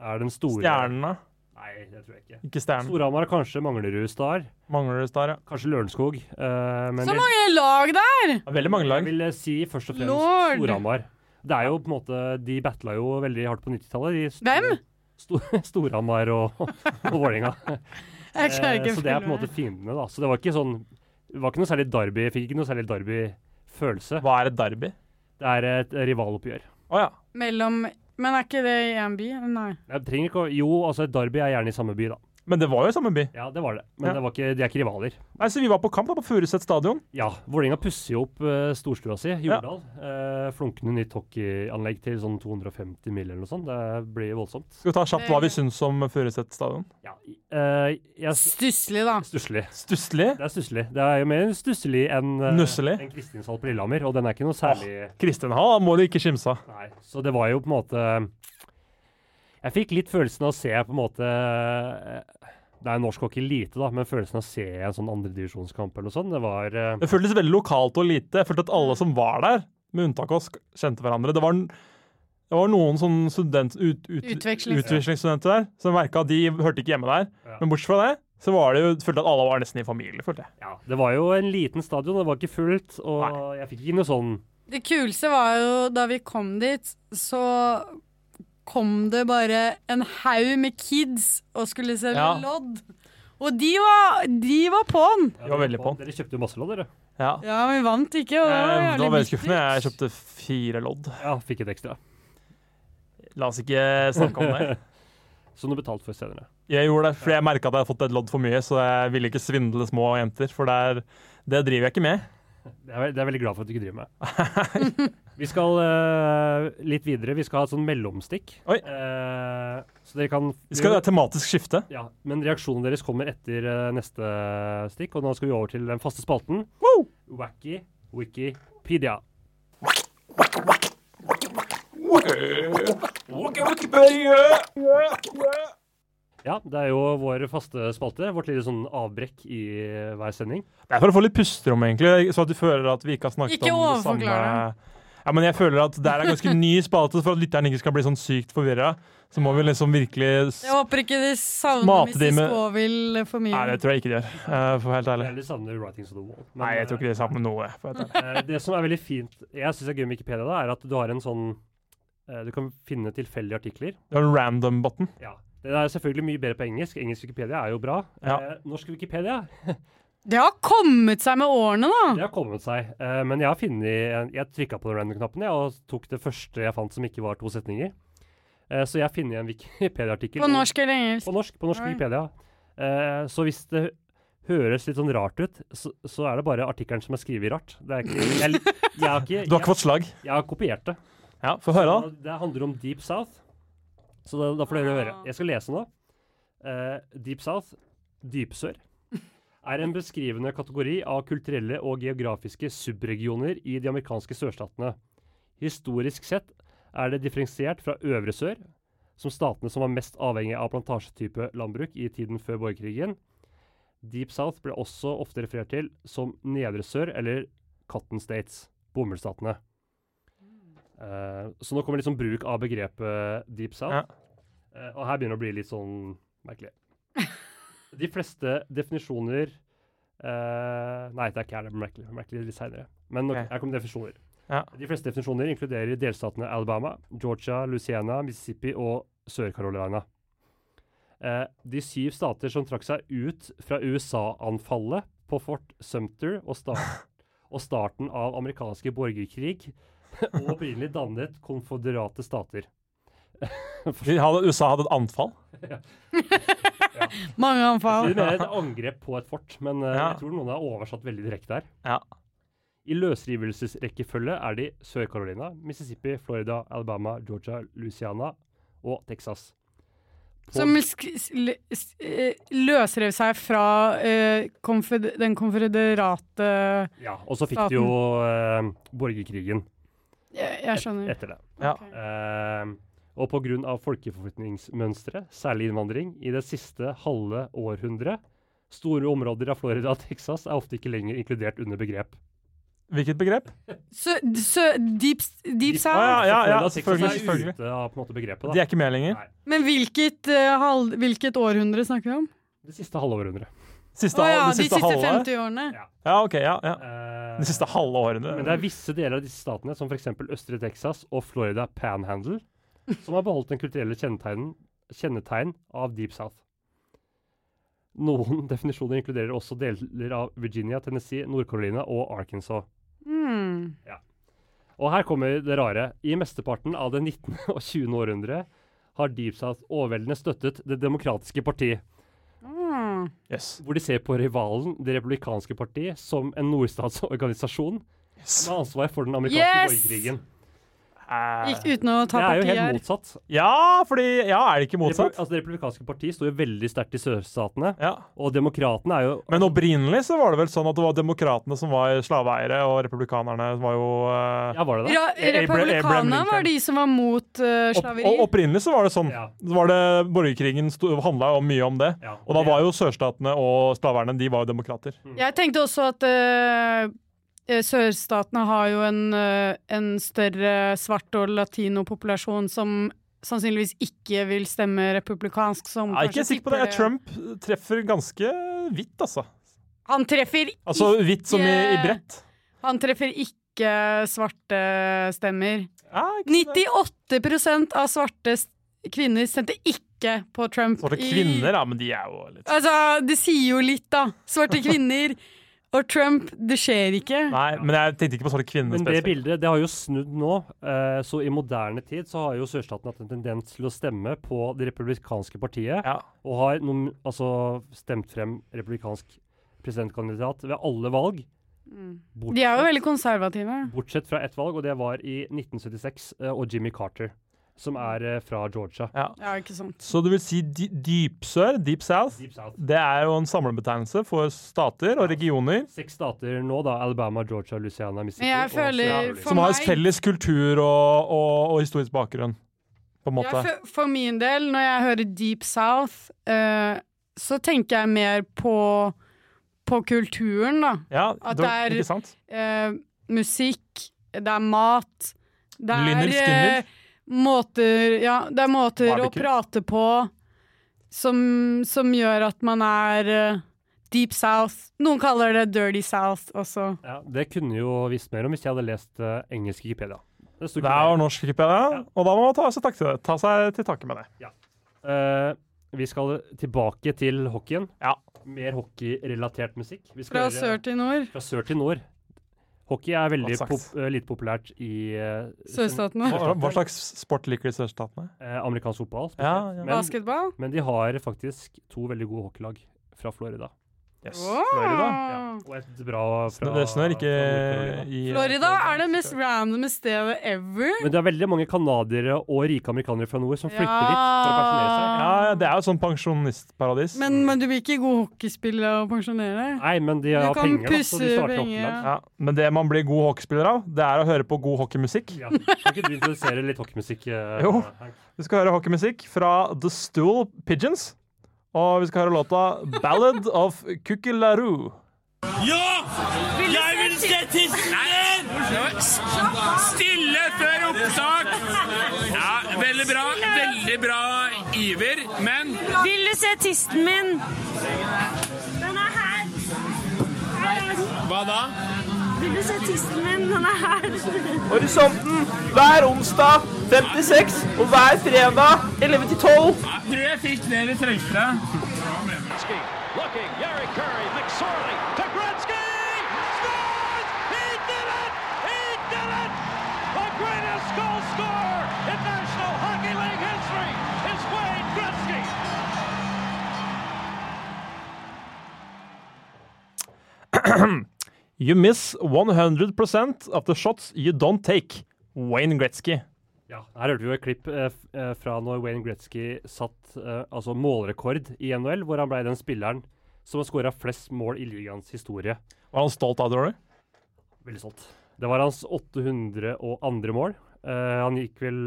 Speaker 4: er den store
Speaker 3: Stjernene.
Speaker 4: Nei, det tror jeg ikke.
Speaker 3: Ikke stjernen.
Speaker 4: Storhamar er kanskje Manglerud Star.
Speaker 3: Mangler det star, ja.
Speaker 4: Kanskje Lørenskog. eh, men
Speaker 5: Så
Speaker 4: jeg-
Speaker 5: mange lag der!
Speaker 3: Det er Veldig mange
Speaker 4: Jeg
Speaker 3: lag.
Speaker 4: vil eh, si først og fremst
Speaker 5: Lord!
Speaker 4: Storhamar. Det er jo på en måte De battla jo veldig hardt på 90-tallet. de sto-
Speaker 5: Hvem?
Speaker 4: Sto- Storhamar og, og Vålerenga.
Speaker 5: Jeg klarer
Speaker 4: Eh,
Speaker 5: ikke å
Speaker 4: så det er på en
Speaker 5: følge
Speaker 4: måte
Speaker 5: med.
Speaker 4: fiendene, da. Så det var ikke sånn Det var ikke noe særlig derby. Jeg fikk ikke noe særlig derby-følelse.
Speaker 3: Hva er et derby?
Speaker 4: Det er et rivaloppgjør.
Speaker 3: Å ja.
Speaker 5: Mellom Men er ikke det i en by? Nei.
Speaker 4: Jeg trenger ikke å Jo, altså, et derby er gjerne i samme by, da.
Speaker 3: Men det var jo samme by.
Speaker 4: Ja, det var det. Men
Speaker 3: Ja.
Speaker 4: det var ikke, de er ikke rivaler.
Speaker 3: Nei, Så vi var på kamp da, på Furuset stadion.
Speaker 4: Ja, Vålerenga pusser jo opp eh, storstua si, Jordal. Eh, flunkende nytt hockeyanlegg til sånn 250 mil eller noe sånt. Det blir voldsomt.
Speaker 3: Skal vi ta kjapt hva vi syns om Furuset stadion?
Speaker 4: Ja, eh, jeg s-
Speaker 5: Stusslig, da.
Speaker 4: Stusslig.
Speaker 3: Stusslig.
Speaker 4: Det er stusslig. Det er jo mer stusslig enn eh,
Speaker 3: Nusselig.
Speaker 4: enn Kristinshall på Lillehammer, og den er ikke noe særlig
Speaker 3: Kristin Hall må du ikke skimse av.
Speaker 4: Nei. Så det var jo på en måte Jeg fikk litt følelsen av å se på en måte eh, Det er norsk hockey lite, da, men følelsen av å se en sånn andredivisjonskamp eller noe sånt, det var eh,
Speaker 3: Det føltes veldig lokalt og lite. Jeg følte at alle som var der, med unntak av oss, kjente hverandre. Det var, n- det var noen sånn student, ut, ut,
Speaker 5: Utvekslingsstudenter.
Speaker 3: utvekslingsstudenter der som merka at de hørte ikke hjemme der.
Speaker 4: Ja.
Speaker 3: Men bortsett fra det, så var det jo, følte jeg at alle var nesten i familie. følte jeg.
Speaker 4: Ja, det var jo en liten stadion, det var ikke fullt, og jeg fikk ikke noe sånn
Speaker 5: Det kuleste var jo da vi kom dit, så kom det bare en haug med kids og skulle selge
Speaker 3: Ja.
Speaker 5: lodd. Og de var, de var på'n!
Speaker 3: De var veldig på.
Speaker 4: Dere kjøpte jo masse lodd, dere.
Speaker 3: Ja.
Speaker 5: Ja, vi vant ikke, og det var
Speaker 3: Eh, Det var
Speaker 5: jævlig
Speaker 3: veldig
Speaker 5: bittert.
Speaker 3: skuffende. Jeg kjøpte fire lodd.
Speaker 4: Ja, fikk et ekstra.
Speaker 3: La oss ikke snakke om det.
Speaker 4: Som du betalte for senere.
Speaker 3: Jeg gjorde det, fordi jeg merka at jeg hadde fått et lodd for mye, så jeg ville ikke svindle små jenter. For det, er, det driver jeg ikke med.
Speaker 4: Det er, jeg- det er jeg veldig glad for at du ikke driver med. vi skal eh, litt videre. Vi skal ha et sånn mellomstikk.
Speaker 3: Oi.
Speaker 4: Eh, så dere kan
Speaker 3: Vi skal ha tematisk skifte.
Speaker 4: Ja, Men reaksjonene deres kommer etter eh, neste stikk. Og nå skal vi over til den faste spalten.
Speaker 3: Woo!
Speaker 4: Wacky Wikipedia. Ja, det er jo vår faste spalte. Vårt lille sånn avbrekk i eh, hver sending.
Speaker 3: Det er for å få litt pusterom, egentlig, så at du føler at vi ikke har snakket
Speaker 5: Ikke
Speaker 3: om det samme.
Speaker 5: overforklare.
Speaker 3: Ja, men jeg føler at det er en ganske ny spalte, for at lytteren ikke skal bli sånn sykt forvirra. Så må vi liksom virkelig s-
Speaker 5: Jeg håper ikke de savner
Speaker 3: Mate
Speaker 5: Mrs.
Speaker 3: de med-
Speaker 5: Scoville for mye.
Speaker 3: Nei, det tror jeg ikke de gjør, eh, for å være helt ærlig.
Speaker 4: Jeg savner Writings on the Wall. men,
Speaker 3: Nei, jeg tror ikke de savner noe. For å være helt ærlig.
Speaker 4: Eh, det som er veldig fint, jeg syns er gøy med Wikipedia, da, er at du har en sånn eh, Du kan finne tilfeldige artikler.
Speaker 3: Det var en random button.
Speaker 4: Ja. Det er selvfølgelig mye bedre på engelsk. Engelsk Wikipedia er jo bra.
Speaker 3: Ja.
Speaker 4: Eh, norsk Wikipedia,
Speaker 5: Det har kommet seg med årene, da!
Speaker 4: det har kommet seg. Eh, men jeg har funnet en- Jeg trykka på den random-knappen jeg, og tok det første jeg fant som ikke var to setninger. Eh, så jeg har funnet en Wikipedia-artikkel
Speaker 5: På norsk eller engelsk.
Speaker 4: På norsk, på norsk
Speaker 5: Oi.
Speaker 4: Wikipedia. Eh, så hvis det høres litt sånn rart ut, så, så er det bare artikkelen som er skrevet rart. Det er ikke, jeg, lik- jeg, har ikke,
Speaker 3: Du har ikke
Speaker 4: jeg,
Speaker 3: fått slag?
Speaker 4: jeg har kopiert det.
Speaker 3: Ja, Få høre, da.
Speaker 4: Og Det handler om Deep South. Så da, da får dere høre. Jeg skal lese nå. Eh, Deep South, dypsør, er en beskrivende kategori av kulturelle og geografiske subregioner i de amerikanske sørstatene. Historisk sett er det differensiert fra øvre sør, som statene som var mest avhengige av plantasjetype landbruk i tiden før borgerkrigen. Deep South ble også ofte referert til som Nedre Sør eller Cotton States, bomullsstatene. Eh, så nå kommer liksom bruk av begrepet Deep South.
Speaker 3: Ja.
Speaker 4: Eh, og her begynner det å bli litt sånn merkelig. De fleste definisjoner eh, Nei, det er ikke her, det blir merkelig. Det blir merkelig litt senere. Men ok,
Speaker 3: Ok.
Speaker 4: her kommer definisjoner.
Speaker 3: Ja.
Speaker 4: De fleste definisjoner inkluderer delstatene Alabama, Georgia, Louisiana, Mississippi og Sør-Carolina. Eh, de syv stater som trakk seg ut fra USA-anfallet på Fort Sumter og, sta- og starten av amerikanske borgerkrig, og opprinnelig dannet konføderate stater.
Speaker 3: De hadde, USA hadde et anfall.
Speaker 5: Mange
Speaker 4: De
Speaker 5: anfall.
Speaker 4: mener et angrep på et fort, men eh,
Speaker 3: Ja.
Speaker 4: jeg tror noen har oversatt veldig direkte her.
Speaker 3: Ja.
Speaker 4: I løsrivelsesrekkefølge er de Sør-Carolina, Mississippi, Florida, Alabama, Georgia, Louisiana og Texas. På-
Speaker 5: Som sk- s- l- s- eh, løsrev seg fra eh, konfed den konfederate
Speaker 4: ja, og så fikk de jo eh, borgerkrigen
Speaker 5: jeg, jeg skjønner.
Speaker 4: etter det.
Speaker 3: Ja.
Speaker 5: Ok.
Speaker 4: Ehm, og pga. folkeforflytningsmønsteret, særlig innvandring, i det siste halve århundret Store områder av Florida og Texas er ofte ikke lenger inkludert under begrep.
Speaker 3: Hvilket begrep?
Speaker 5: Så, så deep, deep
Speaker 3: Å,
Speaker 5: South
Speaker 3: ja, ja, ja,
Speaker 4: Florida og Texas
Speaker 3: selvfølgelig.
Speaker 4: er
Speaker 3: selvfølgelig.
Speaker 4: ute av på en måte, begrepet.
Speaker 3: De
Speaker 4: Da.
Speaker 3: er ikke med lenger.
Speaker 4: Nei.
Speaker 5: Men hvilket, eh, halv, hvilket århundre snakker vi om?
Speaker 4: Det siste halve århundret.
Speaker 3: Siste,
Speaker 5: Å
Speaker 3: hal-
Speaker 5: ja,
Speaker 3: det
Speaker 5: de
Speaker 3: siste
Speaker 5: siste
Speaker 3: halve?
Speaker 5: 50 årene.
Speaker 4: Ja.
Speaker 3: Ja, ok, ja, ja.
Speaker 4: Eh,
Speaker 3: Det siste halve
Speaker 4: men
Speaker 3: årene.
Speaker 4: det er visse deler av disse statene, som f.eks. Østre Texas og Florida Panhandle, som har beholdt den kulturelle kjennetegnen kjennetegn av Deep South. Noen definisjoner inkluderer også deler av Virginia, Tennessee, Nord-Carolina og Arkansas.
Speaker 5: Mm.
Speaker 4: Og her kommer det rare. I mesteparten av det 19. og 20. århundre har Deep South overveldende støttet Det demokratiske parti,
Speaker 5: Mm.
Speaker 3: Yes.
Speaker 4: hvor de ser på rivalen, Det republikanske parti, som en nordstatsorganisasjon
Speaker 3: yes.
Speaker 4: med ansvar for den amerikanske
Speaker 5: Yes!
Speaker 4: borgerkrigen.
Speaker 5: Gikk uten å ta
Speaker 4: Det er jo
Speaker 5: parti
Speaker 4: helt
Speaker 5: her.
Speaker 4: motsatt.
Speaker 3: Ja, fordi Ja, er det ikke
Speaker 4: Repu
Speaker 3: motsatt?
Speaker 4: altså, det republikanske partiet sto jo veldig sterkt i sørstatene,
Speaker 3: Ja.
Speaker 4: og demokratene er jo
Speaker 3: Men opprinnelig så var det vel sånn at det var demokratene som var slaveeiere, og republikanerne var jo eh,
Speaker 4: Ja, var det det?
Speaker 5: Ra
Speaker 3: Abra- Abraham
Speaker 5: Republikanerne
Speaker 3: Lincoln.
Speaker 5: var de som var mot eh,
Speaker 3: opp,
Speaker 5: slaveri.
Speaker 3: Og opprinnelig så var det sånn.
Speaker 4: Ja.
Speaker 3: Så var det Borgerkrigen handla jo mye om det.
Speaker 4: Ja, Mm.
Speaker 3: Og da var jo sørstatene og slaverne de var jo demokrater.
Speaker 5: Jeg tenkte også at eh, eh, sørstatene har jo en, eh, en større svart- og latinopopulasjon som sannsynligvis ikke vil stemme republikansk. Som
Speaker 3: Jeg er ikke
Speaker 5: kanskje
Speaker 3: sikker på det.
Speaker 5: tipper
Speaker 3: Trump treffer ganske vidt, altså.
Speaker 5: Han treffer, i-
Speaker 3: Altså vidt som i, i bredt.
Speaker 5: han treffer ikke svarte stemmer.
Speaker 3: Ja, ikke så-
Speaker 5: 98 av svarte s- kvinner stemte ikke på Trump.
Speaker 3: Svarte
Speaker 5: i-
Speaker 3: kvinner, ja, men de er jo litt sånn.
Speaker 5: Altså, det sier jo litt, da. Svarte kvinner og Trump, det skjer ikke.
Speaker 3: Nei, men jeg tenkte ikke på svarte kvinner
Speaker 4: Men det
Speaker 3: spesifikt.
Speaker 4: bildet det har jo snudd nå. eh, så i moderne tid så har jo sørstaten hatt en tendens til å stemme på det republikanske partiet,
Speaker 3: Ja.
Speaker 4: og har noen, altså, stemt frem republikansk presidentkandidat ved alle valg. Bortsett,
Speaker 5: De er jo veldig konservative.
Speaker 4: bortsett fra ett valg, og det var i 1976, eh, og Jimmy Carter, som er eh, fra Georgia.
Speaker 5: Ja, ikke sant.
Speaker 3: Så du vil si dy dypsør, deep south,
Speaker 4: Deep South.
Speaker 3: det er jo en samlebetegnelse for stater og regioner
Speaker 4: Seks stater nå, da. Alabama, Georgia, Louisiana, Mississippi
Speaker 5: Men jeg
Speaker 4: og
Speaker 5: føler
Speaker 4: Sør-Carolina.
Speaker 5: for
Speaker 3: som har
Speaker 5: meg-
Speaker 3: felles kultur og, og, og historisk bakgrunn, på en
Speaker 5: Ja,
Speaker 3: måte.
Speaker 5: for, for min del, når jeg hører Deep South, eh, så tenker jeg mer på, på kulturen, da.
Speaker 3: Ja,
Speaker 5: At
Speaker 3: det,
Speaker 5: det er-
Speaker 3: ikke sant?
Speaker 5: Eh, musikk, det er mat, det
Speaker 3: Lynyrd
Speaker 5: er
Speaker 3: Skynyrd.
Speaker 5: eh, måter Ja, det er måter å
Speaker 3: Barbecue.
Speaker 5: prate på som, som gjør at man er eh, Deep South. Noen kaller det Dirty South også.
Speaker 4: Ja, det kunne jo visst mer om hvis jeg hadde lest eh, engelsk Wikipedia. Det sto ikke
Speaker 3: Det
Speaker 4: mer.
Speaker 3: er norsk Wikipedia, og da må man ta seg, tak til, ta seg til takke med det.
Speaker 4: Eh, vi skal tilbake til hockeyen.
Speaker 3: Ja.
Speaker 4: Mer hockeyrelatert musikk. Vi skal
Speaker 5: Fra
Speaker 4: høre-
Speaker 5: sør til nord.
Speaker 4: fra sør til nord. Hockey er veldig
Speaker 3: Godt sagt.
Speaker 4: pop eh, lite populært i eh,
Speaker 5: Sørstatene.
Speaker 3: Hva, hva slags sport liker de sørstatene?
Speaker 4: eh, amerikansk fotball. spesielt.
Speaker 3: Ja, ja.
Speaker 4: Men,
Speaker 5: Basketball.
Speaker 4: men de har faktisk to veldig gode hockeylag fra Florida.
Speaker 3: Yes.
Speaker 5: Åh.
Speaker 3: Florida.
Speaker 5: Mm.
Speaker 4: Og et bra fra
Speaker 3: Det snør ikke
Speaker 4: fra Nord-Carolina.
Speaker 3: i
Speaker 5: Florida er det mest randomme stedet ever.
Speaker 4: Men det er veldig mange canadiere og rike amerikanere fra nord som flytter dit for å pensjonere seg.
Speaker 3: Ja, ja, det er jo et sånn pensjonistparadis.
Speaker 5: Men, men du blir ikke god hockeyspiller av å pensjonere?
Speaker 4: Nei, men de
Speaker 5: Du
Speaker 4: har
Speaker 5: kan
Speaker 4: penger, da, så de
Speaker 5: pusse
Speaker 4: starter
Speaker 5: penger,
Speaker 4: hockeylag.
Speaker 3: ja, men det man blir god hockeyspiller av, det er å høre på god hockeymusikk.
Speaker 4: Ja. Kan ikke du introdusere litt hockeymusikk? eh,
Speaker 3: Jo.
Speaker 4: Hank?
Speaker 3: Vi skal høre hockeymusikk fra The Stool Pigeons. Og vi skal høre låta 'Ballad of Kukilaroo'.
Speaker 6: Jeg vil se tissen din! Stille før opptak. Ja, veldig bra. Veldig bra iver, men
Speaker 9: Vil du se tisten min? Den er her. Her er den.
Speaker 6: Hva da?
Speaker 9: Vil du se tisten min? Den er her.
Speaker 10: Horisonten hver onsdag 56 og hver fredag 11 til 12.
Speaker 6: Jeg tror jeg fikk det vi trengte.
Speaker 8: Looking, Yari Curry, McSorley to Gretzky! Scores! He did it! He did it! The greatest goal scorer in National Hockey League history is Wayne Gretzky!
Speaker 3: You miss 100 of the shots you don't take. Wayne Gretzky.
Speaker 4: Ja. Her hørte vi jo et klipp eh, f- eh, fra når Wayne Gretzky satt eh, altså målrekord i NHL, hvor han ble den spilleren som har skåra flest mål i ligaens historie.
Speaker 3: Var han stolt av det, Rory?
Speaker 4: Veldig stolt. Det var hans 802. mål. Eh, han gikk vel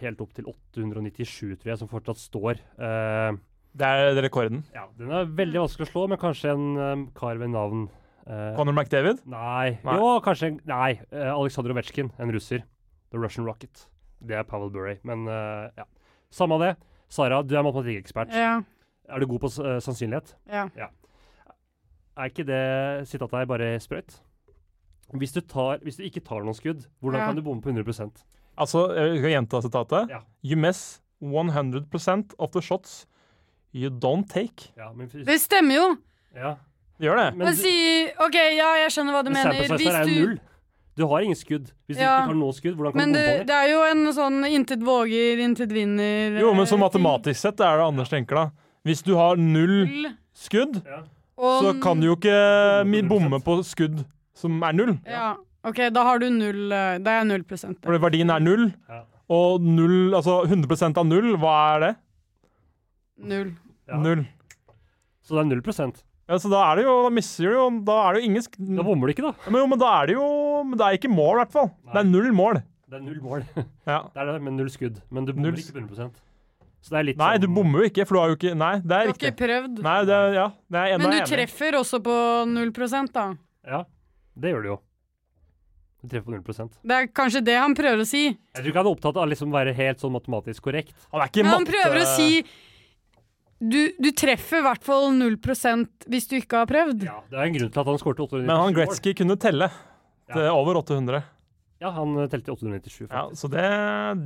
Speaker 4: helt opp til 897, tror jeg, som fortsatt står. Eh,
Speaker 3: Det er rekorden.
Speaker 4: ja, den er veldig vanskelig å slå, men kanskje en eh, kar ved navn eh,
Speaker 3: Conor McDavid.
Speaker 4: Nei.
Speaker 3: Nei.
Speaker 4: Jo, kanskje en- Nei. eh, Aleksandr Ovetsjkin, en russer. The Russian Rocket. Det er Pavel Bury, men eh, ja. Samme av det. Sara, du er matematikkekspert.
Speaker 5: Ja.
Speaker 4: Er du god på s- eh, sannsynlighet?
Speaker 5: ja.
Speaker 4: Er ikke det sitatet her bare sprøyt? Hvis du, tar, hvis du ikke tar noen skudd, hvordan
Speaker 5: Ja.
Speaker 4: kan du bomme på 100
Speaker 3: Altså, jeg skal gjenta sitatet.
Speaker 4: Ja.
Speaker 3: You miss 100 of the shots you don't take.
Speaker 4: Ja, men hvis,
Speaker 5: Det stemmer jo.
Speaker 4: ja.
Speaker 3: Gjør det.
Speaker 5: Men si OK, ja, jeg skjønner hva du mener.
Speaker 4: sample size her er jo null. Du har ingen skudd. Hvis
Speaker 5: Ja.
Speaker 4: du ikke tar noe skudd, hvordan kan
Speaker 5: Men
Speaker 4: du
Speaker 5: det,
Speaker 4: bombe på
Speaker 5: det
Speaker 4: det?
Speaker 5: er jo en sånn intet våger, intet vinner
Speaker 3: Jo, men så
Speaker 5: eh,
Speaker 3: matematisk sett er det Anders tenker, da. Hvis du har null
Speaker 5: ting.
Speaker 3: skudd,
Speaker 5: Og,
Speaker 3: så kan du jo ikke mi- bomme på skudd som er null.
Speaker 5: Ja. OK, da har du null eh, Da er jeg null prosent.
Speaker 3: Fordi verdien er null.
Speaker 4: Ja.
Speaker 3: Og null, altså 100 av null, hva er det?
Speaker 5: Null.
Speaker 4: Ja.
Speaker 3: Null.
Speaker 4: Så det er null prosent.
Speaker 3: Ja, så da er det jo, da misser du jo, da er det jo ingen sk
Speaker 4: Da bommer du ikke, da.
Speaker 3: Ja, Men, jo, men da er det jo Men det er ikke mål, i hvert fall. Det er null mål.
Speaker 4: Det er null mål. det
Speaker 3: Ja.
Speaker 4: er det, men null skudd. Men du bommer
Speaker 3: Null s-
Speaker 4: ikke på 100 Så det er litt
Speaker 3: Nei, du
Speaker 4: sånn-
Speaker 3: bommer jo ikke, for du har jo ikke Nei, det
Speaker 5: Du
Speaker 3: er
Speaker 5: har ikke
Speaker 3: riktig.
Speaker 5: prøvd.
Speaker 3: Nei, det er, ja, det er enda
Speaker 5: Men du
Speaker 3: enig.
Speaker 5: treffer også på null prosent, da.
Speaker 4: Ja, det gjør du jo. Du treffer på null prosent.
Speaker 5: Det er kanskje det han prøver å si.
Speaker 4: Jeg tror ikke han er opptatt av å liksom være helt sånn matematisk korrekt.
Speaker 3: Han er ikke
Speaker 5: Men han
Speaker 3: matte-
Speaker 5: prøver å si du, du treffer i hvert fall 0 hvis du ikke har prøvd.
Speaker 4: Ja, Det er en grunn til at han skåret 897
Speaker 3: Men han
Speaker 4: mål.
Speaker 3: Gretzky kunne telle. Det er over 800.
Speaker 4: Ja, han eh, telte 897, faktisk.
Speaker 3: Ja, så det,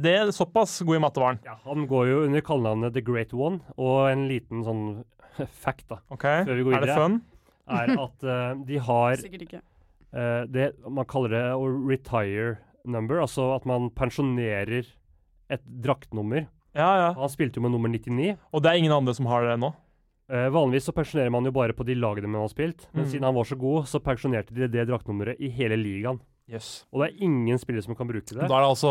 Speaker 3: det er såpass god i matte var han.
Speaker 4: Ja, han går jo under kallenavnet The Great One, og en liten sånn fact da,
Speaker 3: OK,
Speaker 4: Før vi går
Speaker 3: er det
Speaker 4: videre.
Speaker 3: fun?
Speaker 4: er at eh, de har
Speaker 5: Sikkert ikke.
Speaker 4: eh, det man kaller det å retire number, altså at man pensjonerer et draktnummer.
Speaker 3: Ja, ja.
Speaker 4: Han spilte jo med nummer 99.
Speaker 3: Og det er ingen andre som har det nå.
Speaker 4: Eh, vanligvis så pensjonerer man jo bare på de lagene man har spilt,
Speaker 3: Mm.
Speaker 4: men siden han var så god, så pensjonerte de det draktnummeret i hele ligaen.
Speaker 3: Yes.
Speaker 4: Og det er ingen spillere som kan bruke
Speaker 3: Da
Speaker 4: det.
Speaker 3: er det altså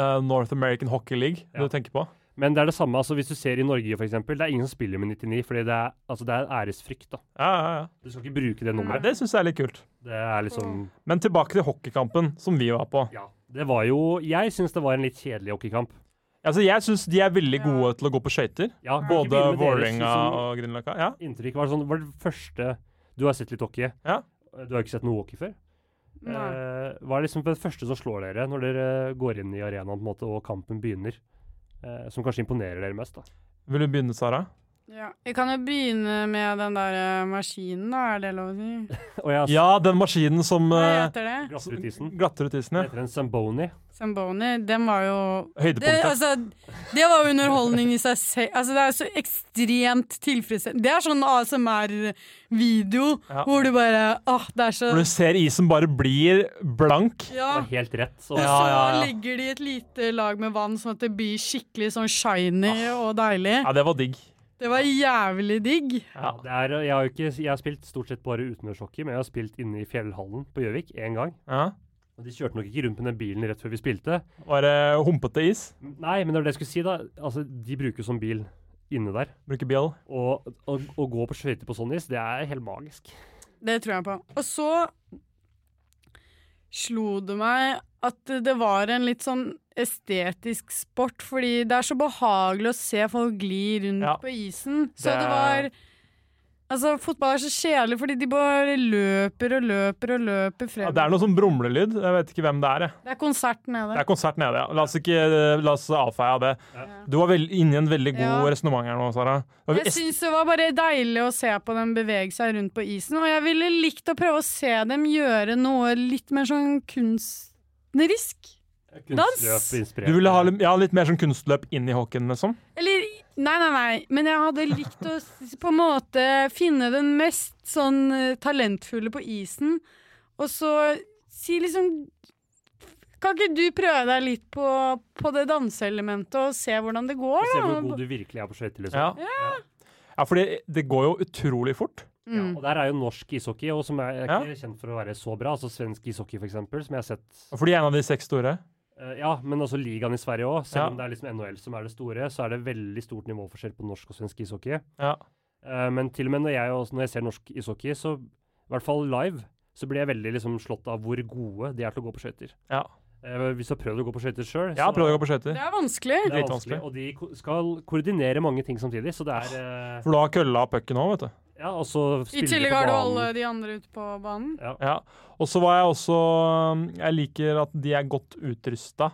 Speaker 3: eh, North American Hockey League
Speaker 4: Ja.
Speaker 3: du tenker på.
Speaker 4: Men det er det samme, altså hvis du ser i Norge f.eks., det er ingen som spiller med 99, fordi det er, altså, det er æresfrykt, da.
Speaker 3: Ja, ja, ja.
Speaker 4: Du skal ikke bruke det
Speaker 3: Nei,
Speaker 4: nummeret.
Speaker 3: det syns jeg er litt kult.
Speaker 4: Det er liksom
Speaker 3: Men tilbake til hockeykampen som vi var på.
Speaker 4: Ja, det var jo Jeg syns det var en litt kjedelig hockeykamp.
Speaker 3: Altså, jeg syns de er veldig gode til å gå på skøyter.
Speaker 4: Ja,
Speaker 3: Både
Speaker 4: ikke bildet deres,
Speaker 3: Vålerenga
Speaker 4: liksom,
Speaker 3: og Grünerløkka. Ja.
Speaker 4: Inntrykk var sånn Det var det første Du har sett litt hockey. Eh,
Speaker 3: Ja.
Speaker 4: Du har ikke sett noe hockey før.
Speaker 5: Nei.
Speaker 4: Eh, hva er liksom det første som slår dere når dere går inn i arenaen på en måte og kampen begynner? Eh, som kanskje imponerer dere mest, da.
Speaker 3: Vil du begynne, Sara?
Speaker 5: Ja. Vi kan jo begynne med den der eh, maskinen, da. Er det lov å si?
Speaker 4: Og jeg
Speaker 3: Ja, den maskinen som
Speaker 5: Hva
Speaker 3: eh,
Speaker 5: heter det?
Speaker 4: glasser ut isen.
Speaker 3: glatter ut isen, ja.
Speaker 4: Etter en Zamboni.
Speaker 5: Zamboni. Den var jo det,
Speaker 3: Høydepunktet.
Speaker 5: altså, det var jo underholdning i seg selv. Altså, det er så ekstremt tilfredsstillende. Det er sånn ASMR-video
Speaker 3: Ja.
Speaker 5: hvor du bare Åh, det er så
Speaker 3: Hvor du ser isen bare blir blank.
Speaker 5: Ja.
Speaker 4: Det var helt rett. Så
Speaker 5: Og
Speaker 3: Ja, ja, ja.
Speaker 5: så legger
Speaker 3: Ah.
Speaker 5: de et lite lag med vann, sånn at det blir skikkelig sånn shiny og deilig.
Speaker 3: Ja, det var digg.
Speaker 5: Det var jævlig digg.
Speaker 4: Ja, det er, jeg, har jo ikke, jeg har spilt stort sett bare utenørshockey, men jeg har spilt inne i fjellhallen på Gjøvik én gang.
Speaker 3: Ja.
Speaker 4: Og De kjørte nok ikke rundt med den bilen rett før vi spilte.
Speaker 3: Var det humpete is?
Speaker 4: Nei, men det var det jeg skulle si, da. Altså, De bruker jo sånn bil inne der.
Speaker 3: Bruker bjell?
Speaker 4: Og å å gå på skøyter på sånn is, det er helt magisk.
Speaker 5: Det tror jeg på. Og så slo det meg at det var en litt sånn estetisk sport, fordi det er så behagelig å se folk gli rundt
Speaker 3: Ja.
Speaker 5: på isen. Så
Speaker 3: Det-
Speaker 5: det, var Altså, fotball er så kjedelig fordi de bare løper og løper og
Speaker 3: Ja,
Speaker 5: løper frem.
Speaker 3: det er noe sånn brumlelyd. Jeg vet ikke hvem det er. Jeg.
Speaker 5: det er konsert nede.
Speaker 3: Det er konsert nede, ja. La oss ikke eh, la oss avfeie det. Du var vel inne i en veldig god
Speaker 5: Ja.
Speaker 3: resonnement her nå, Sara. Det var
Speaker 5: Jeg
Speaker 3: est-
Speaker 5: syns det var bare deilig å se på dem bevege seg rundt på isen, og jeg ville likt å prøve å se dem gjøre noe litt mer sånn kunstnerisk. Dans!
Speaker 3: Du ville ha litt, ja, litt mer sånn kunstløp inn i hockeyen, liksom?
Speaker 5: Eller Nei, nei, nei. Men jeg hadde likt å s- på en måte finne den mest sånn eh, talentfulle på isen, og så si liksom Kan ikke du prøve deg litt på, på det danseelementet og se hvordan det går,
Speaker 4: Se
Speaker 5: da?
Speaker 4: hvor god du virkelig er på skøyter, liksom.
Speaker 3: Ja. ja, fordi det går jo utrolig fort.
Speaker 4: Ja, og der er jo norsk ishockey, og som er, er
Speaker 3: Ja.
Speaker 4: ikke kjent for å være så bra. Altså svensk ishockey, for eksempel, som jeg har sett
Speaker 3: For de er en av de seks store.
Speaker 4: Eh, Ja, men altså ligaen i Sverige òg. Selv
Speaker 3: Ja.
Speaker 4: om det er liksom NHL som er det store, så er det veldig stort nivåforskjell på norsk og svensk ishockey.
Speaker 3: Ja.
Speaker 4: Eh, men til og med når jeg, også, når jeg ser norsk ishockey, så i hvert fall live, så blir jeg veldig liksom slått av hvor gode de er til å gå på skøyter.
Speaker 3: Ja.
Speaker 4: Eh, hvis du har prøvd å gå på skøyter sjøl,
Speaker 3: Jeg har prøvd å gå på skøyter.
Speaker 5: Det er vanskelig.
Speaker 4: det er
Speaker 3: Litt
Speaker 4: vanskelig.
Speaker 3: vanskelig.
Speaker 4: Og de ko skal koordinere mange ting samtidig, så det er eh,
Speaker 3: For du har kølla og pucken òg, vet du.
Speaker 4: Ja, og så
Speaker 5: I
Speaker 4: spiller de
Speaker 5: tillegg
Speaker 4: på
Speaker 5: har du
Speaker 4: banen.
Speaker 5: alle de andre ute på banen.
Speaker 3: Ja. Og så var jeg også mm, Jeg liker at de er godt utrusta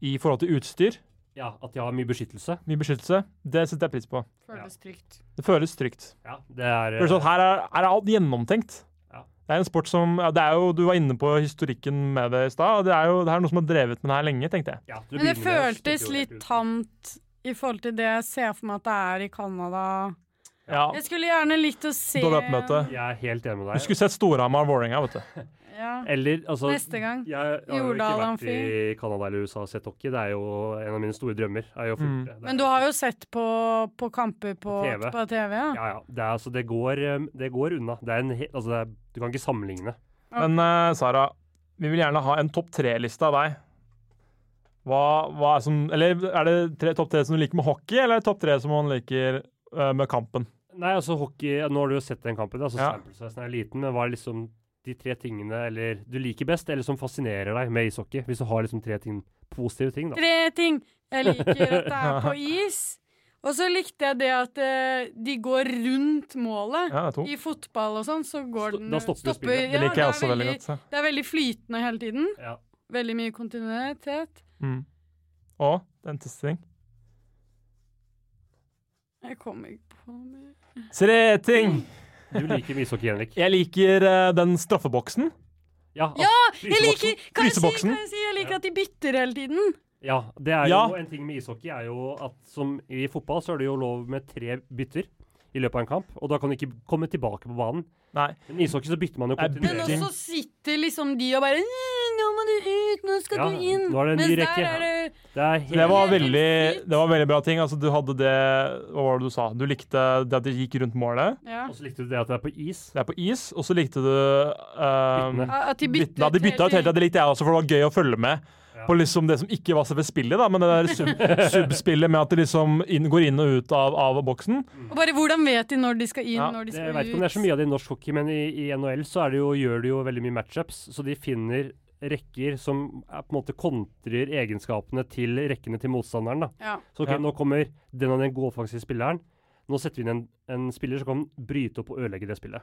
Speaker 3: i forhold til utstyr.
Speaker 4: Ja, at de har mye beskyttelse.
Speaker 3: Mye beskyttelse. Det setter jeg pris på.
Speaker 5: Føles trygt.
Speaker 3: Det føles trygt.
Speaker 4: Ja, det er eh,
Speaker 3: Føles at sånn her er, her er alt gjennomtenkt.
Speaker 4: Ja.
Speaker 3: Det er en sport som ja, det er jo, Du var inne på historikken med det i stad. og Det er jo det er noe som har drevet med det her lenge, tenkte jeg.
Speaker 4: ja, du
Speaker 5: Men det
Speaker 4: begynner med å
Speaker 5: føltes
Speaker 4: stikke
Speaker 5: litt
Speaker 4: hodet ut.
Speaker 5: tamt i forhold til det jeg ser for meg at det er i Canada.
Speaker 3: Ja.
Speaker 5: Jeg skulle gjerne likt å se
Speaker 3: Dårlig oppmøte.
Speaker 4: Jeg er helt enig med
Speaker 3: Du
Speaker 4: deg.
Speaker 3: skulle sett Storhamar og Vålerenga, vet du.
Speaker 5: Ja.
Speaker 4: Eller altså
Speaker 5: Neste gang.
Speaker 4: Jeg har jo ikke
Speaker 5: Jordal
Speaker 4: vært
Speaker 5: Amfi.
Speaker 4: i Canada eller USA og sett hockey. Det er jo en av mine store drømmer. Er jo å få
Speaker 3: Mm.
Speaker 4: gjort det. Det er-
Speaker 5: Men du har jo sett på, på kamper på
Speaker 4: På
Speaker 5: TV.
Speaker 4: TV.
Speaker 5: På TV ja.
Speaker 4: Ja, ja. Det, er, altså, det, går, um, det går unna. Det er en he altså, det er, du kan ikke sammenligne.
Speaker 3: Men eh, Sara, vi vil gjerne ha en topp tre-liste av deg. Hva, hva er som Eller er det tre, topp tre som du liker med hockey, eller er det topp tre som man liker eh, med kampen?
Speaker 4: Nei, altså hockey Nå har du jo sett den kampen. Altså,
Speaker 3: Ja.
Speaker 4: Samplesveisen er liten, men hva er liksom de tre tingene eller du liker best, eller som fascinerer deg med ishockey? Hvis du har liksom tre ting, positive ting, da.
Speaker 5: Tre ting jeg liker at det er på is. Og så likte jeg det at eh, de går rundt målet.
Speaker 3: Ja, det er to.
Speaker 5: I fotball og sånn, så går
Speaker 4: Sto-
Speaker 5: den
Speaker 4: da stopper du spillet.
Speaker 3: Det
Speaker 5: ja,
Speaker 3: liker jeg også
Speaker 5: er
Speaker 3: veldig godt. ja.
Speaker 5: Det er veldig flytende hele tiden.
Speaker 4: Ja.
Speaker 5: Veldig mye kontinuitet.
Speaker 3: Mm. Og det er en siste ting.
Speaker 5: Jeg kommer ikke på mer.
Speaker 3: Tre ting!
Speaker 4: Du liker mye ishockey, Henrik.
Speaker 3: Jeg liker eh, den straffeboksen.
Speaker 4: Ja,
Speaker 5: Ja,
Speaker 4: altså,
Speaker 5: Jeg
Speaker 4: fryseboksen.
Speaker 5: liker, kan jeg, si,
Speaker 3: Fryseboksen.
Speaker 5: kan jeg si jeg liker at de bytter hele tiden?
Speaker 4: Ja, det er
Speaker 3: Ja.
Speaker 4: jo en ting med ishockey er jo at som i fotball så er det jo lov med tre bytter i løpet av en kamp, og da kan du ikke komme tilbake på banen.
Speaker 3: Nei.
Speaker 4: Men i ishockey så bytter man jo
Speaker 3: Det er
Speaker 5: Men
Speaker 3: Bytting.
Speaker 4: kontinuerlig.
Speaker 5: også sitter liksom de og bare "Mm, Nå må du ut, nå skal
Speaker 4: Ja,
Speaker 5: du inn.
Speaker 4: nå er det en ny
Speaker 5: Mens
Speaker 4: rekke, ja.
Speaker 5: der er det
Speaker 4: Det er
Speaker 3: Det
Speaker 4: helt
Speaker 3: var
Speaker 5: Det er helt
Speaker 3: veldig,
Speaker 5: sykt.
Speaker 3: det var veldig bra ting. Altså, du hadde det Hva var det du sa? Du likte det at det gikk rundt målet.
Speaker 5: ja.
Speaker 4: Og så likte du det at det er på is.
Speaker 3: Det er på is, og så likte du eh,
Speaker 4: Byttene.
Speaker 5: At de bytter
Speaker 3: byttene. Ja, de bytta ut hele tida. Det likte jeg også, for det var gøy å følge med
Speaker 4: Ja.
Speaker 3: på liksom det som ikke var selve spillet, da, men det der sub subspillet med at de liksom inn, går inn og ut av, av boksen.
Speaker 5: Og bare hvordan vet de når de skal inn,
Speaker 3: Ja,
Speaker 5: når de
Speaker 4: Det, jeg
Speaker 5: skal
Speaker 4: vet
Speaker 5: ut?
Speaker 4: ikke om det er så mye av det i norsk hockey, men i, i NHL så er det jo, gjør de jo veldig mye matchups, så de finner rekker som er på en måte kontrer egenskapene til rekkene til motstanderen. da.
Speaker 5: Ja.
Speaker 4: Så ok,
Speaker 3: Ja.
Speaker 4: nå kommer den og den gode offensive spilleren. Nå setter vi inn en, en spiller som kan bryte opp og ødelegge det spillet.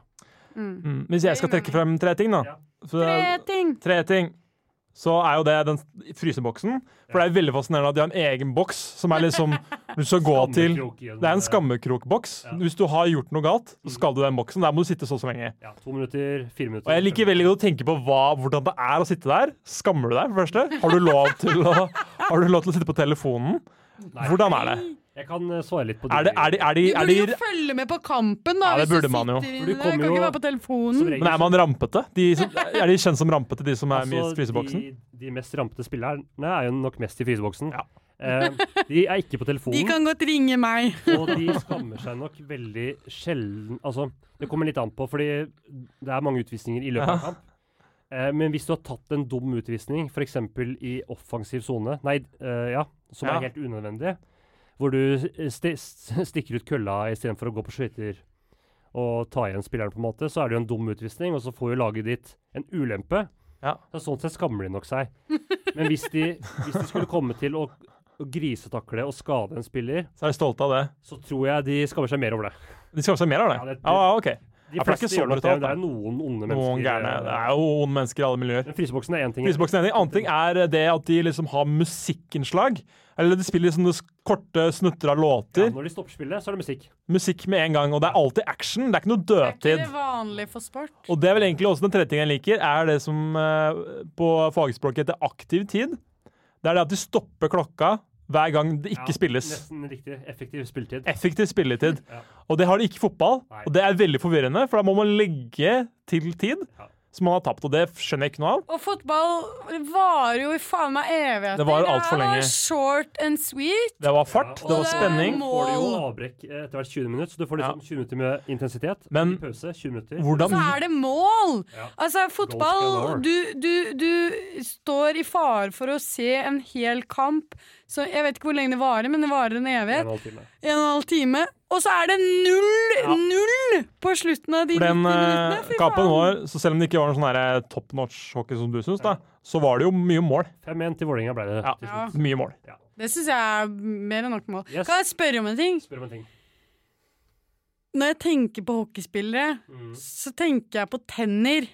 Speaker 5: Mm.
Speaker 3: Mm. Hvis jeg skal trekke frem tre ting,
Speaker 4: Ja.
Speaker 3: da så,
Speaker 5: Tre ting!
Speaker 3: Tre ting. Så er jo det den fryseboksen. For det er veldig fascinerende at de har en egen boks som er liksom du skal gå til
Speaker 4: Skammekrok i
Speaker 3: Det er en skammekrokboks.
Speaker 4: Ja. Mm.
Speaker 3: Hvis du har gjort noe galt, så skal du i den boksen. Der må du sitte så og så lenge.
Speaker 4: Ja, to minutter, fire minutter.
Speaker 3: Og jeg liker veldig godt å tenke på hva, hvordan det er å sitte der. Skammer du deg, for det første? Har du lov til å, har du lov til å sitte på telefonen?
Speaker 4: Nei.
Speaker 3: Hvordan er det?
Speaker 4: Jeg kan eh, svare litt på
Speaker 3: Er det, er de, er de,
Speaker 5: Du
Speaker 3: er de,
Speaker 5: burde jo følge med på kampen, da.
Speaker 3: Ja, det
Speaker 5: hvis du
Speaker 3: burde man jo.
Speaker 5: sitter
Speaker 4: For du
Speaker 5: inne.
Speaker 4: kommer
Speaker 5: Kan
Speaker 4: jo-
Speaker 5: ikke være på
Speaker 4: Som
Speaker 5: telefonen.
Speaker 4: regel
Speaker 3: men
Speaker 4: så-
Speaker 3: er man rampete? De som, er de kjent som rampete, de som er med i
Speaker 4: Altså,
Speaker 3: fryseboksen?
Speaker 4: De, de mest rampete spillerne er jo nok mest i fryseboksen.
Speaker 3: Ja.
Speaker 4: Eh, de er ikke på telefonen.
Speaker 5: De kan godt ringe meg.
Speaker 4: Og de skammer seg nok veldig sjelden Altså, det kommer litt an på, fordi det er mange utvisninger i løpet av kamp. Eh, men hvis du har tatt en dum utvisning, f.eks. i offensiv sone, nei, eh, ja, som
Speaker 10: Ja.
Speaker 4: er helt unødvendig, hvor du st st stikker ut kølla istedenfor å gå på skøyter og ta igjen spilleren, på en måte, så er det jo en dum utvisning, og så får jo laget ditt en ulempe.
Speaker 10: Ja.
Speaker 4: Så sånn sett skammer de nok seg. Men hvis de, hvis de skulle komme til å, å grisetakle og skade en spiller,
Speaker 3: Så er de stolte av det.
Speaker 4: så tror jeg de skammer seg mer over det.
Speaker 3: De skammer seg mer av det.
Speaker 4: Ja,
Speaker 3: Ja,
Speaker 4: det-
Speaker 3: ja, ok.
Speaker 4: De
Speaker 3: Ja, for det er ikke
Speaker 4: fleste
Speaker 3: så
Speaker 4: gjør nok det,
Speaker 3: brutalt,
Speaker 4: men det er
Speaker 3: da.
Speaker 4: noen onde mennesker. eh,
Speaker 3: Noen gærne. Det er jo onde mennesker i alle miljøer.
Speaker 4: Men fryseboksen er én ting.
Speaker 3: Fryseboksen er enig. Annen ting er det at de liksom har musikkinnslag. Eller de spiller liksom korte snutter av
Speaker 4: Ja,
Speaker 3: låter.
Speaker 4: når de stopper spillet, så er det musikk.
Speaker 3: Musikk med en gang, og det er alltid action. Det er ikke noe
Speaker 5: Er ikke
Speaker 3: dødtid.
Speaker 5: det vanlig for sport?
Speaker 3: Og det er vel egentlig også den tredje tingen jeg liker, er det som eh, på fagspråket heter aktiv tid. Det er det at de stopper klokka hver gang det ikke
Speaker 4: Ja,
Speaker 3: spilles.
Speaker 4: Nesten riktig. Effektiv spilletid.
Speaker 3: Effektiv spilletid.
Speaker 4: Ja.
Speaker 3: Og det har de ikke i fotball,
Speaker 4: Nei.
Speaker 3: og det er veldig forvirrende, for da må man legge til tid
Speaker 4: Ja.
Speaker 3: som man har tapt, og det skjønner jeg ikke noe av.
Speaker 5: Og fotball varer jo i faen meg evigheter.
Speaker 3: Det varer alt for
Speaker 5: her
Speaker 3: lenge.
Speaker 5: var Short and sweet.
Speaker 3: Det var fart,
Speaker 4: Ja,
Speaker 3: det
Speaker 4: og
Speaker 3: var
Speaker 5: det er
Speaker 3: spenning.
Speaker 5: må-
Speaker 4: Får du jo avbrekk eh, etter hvert 20 minutter, så du får liksom 20 minutter med intensitet.
Speaker 3: Men-
Speaker 4: I pause 20 minutter.
Speaker 5: Så
Speaker 3: Hvordan
Speaker 5: er det mål!
Speaker 4: Ja.
Speaker 5: Altså, fotball
Speaker 4: Goals galore.
Speaker 5: du, du, du står i fare for å se en hel kamp. Så jeg vet ikke hvor lenge det varer, men det varer en
Speaker 4: En og
Speaker 5: evighet.
Speaker 4: en halv time.
Speaker 5: En og en halv time. Og så er det null! Null på slutten av de
Speaker 3: For den
Speaker 5: 90
Speaker 3: eh,
Speaker 5: minuttene! Fy
Speaker 3: kampen
Speaker 5: faen.
Speaker 3: var, så selv om det ikke var noe sånn her, eh, top notch hockey som du syns, da, så var det jo mye mål.
Speaker 4: 5-1 til Vålerenga ble det.
Speaker 3: Ja.
Speaker 4: til
Speaker 5: Ja.
Speaker 4: slutt.
Speaker 3: Mye mål.
Speaker 5: Det syns jeg er mer enn nok mål.
Speaker 4: Yes.
Speaker 5: Kan jeg spørre om en ting?
Speaker 4: Spør om en ting.
Speaker 5: Når jeg tenker på hockeyspillere, så tenker jeg på tenner.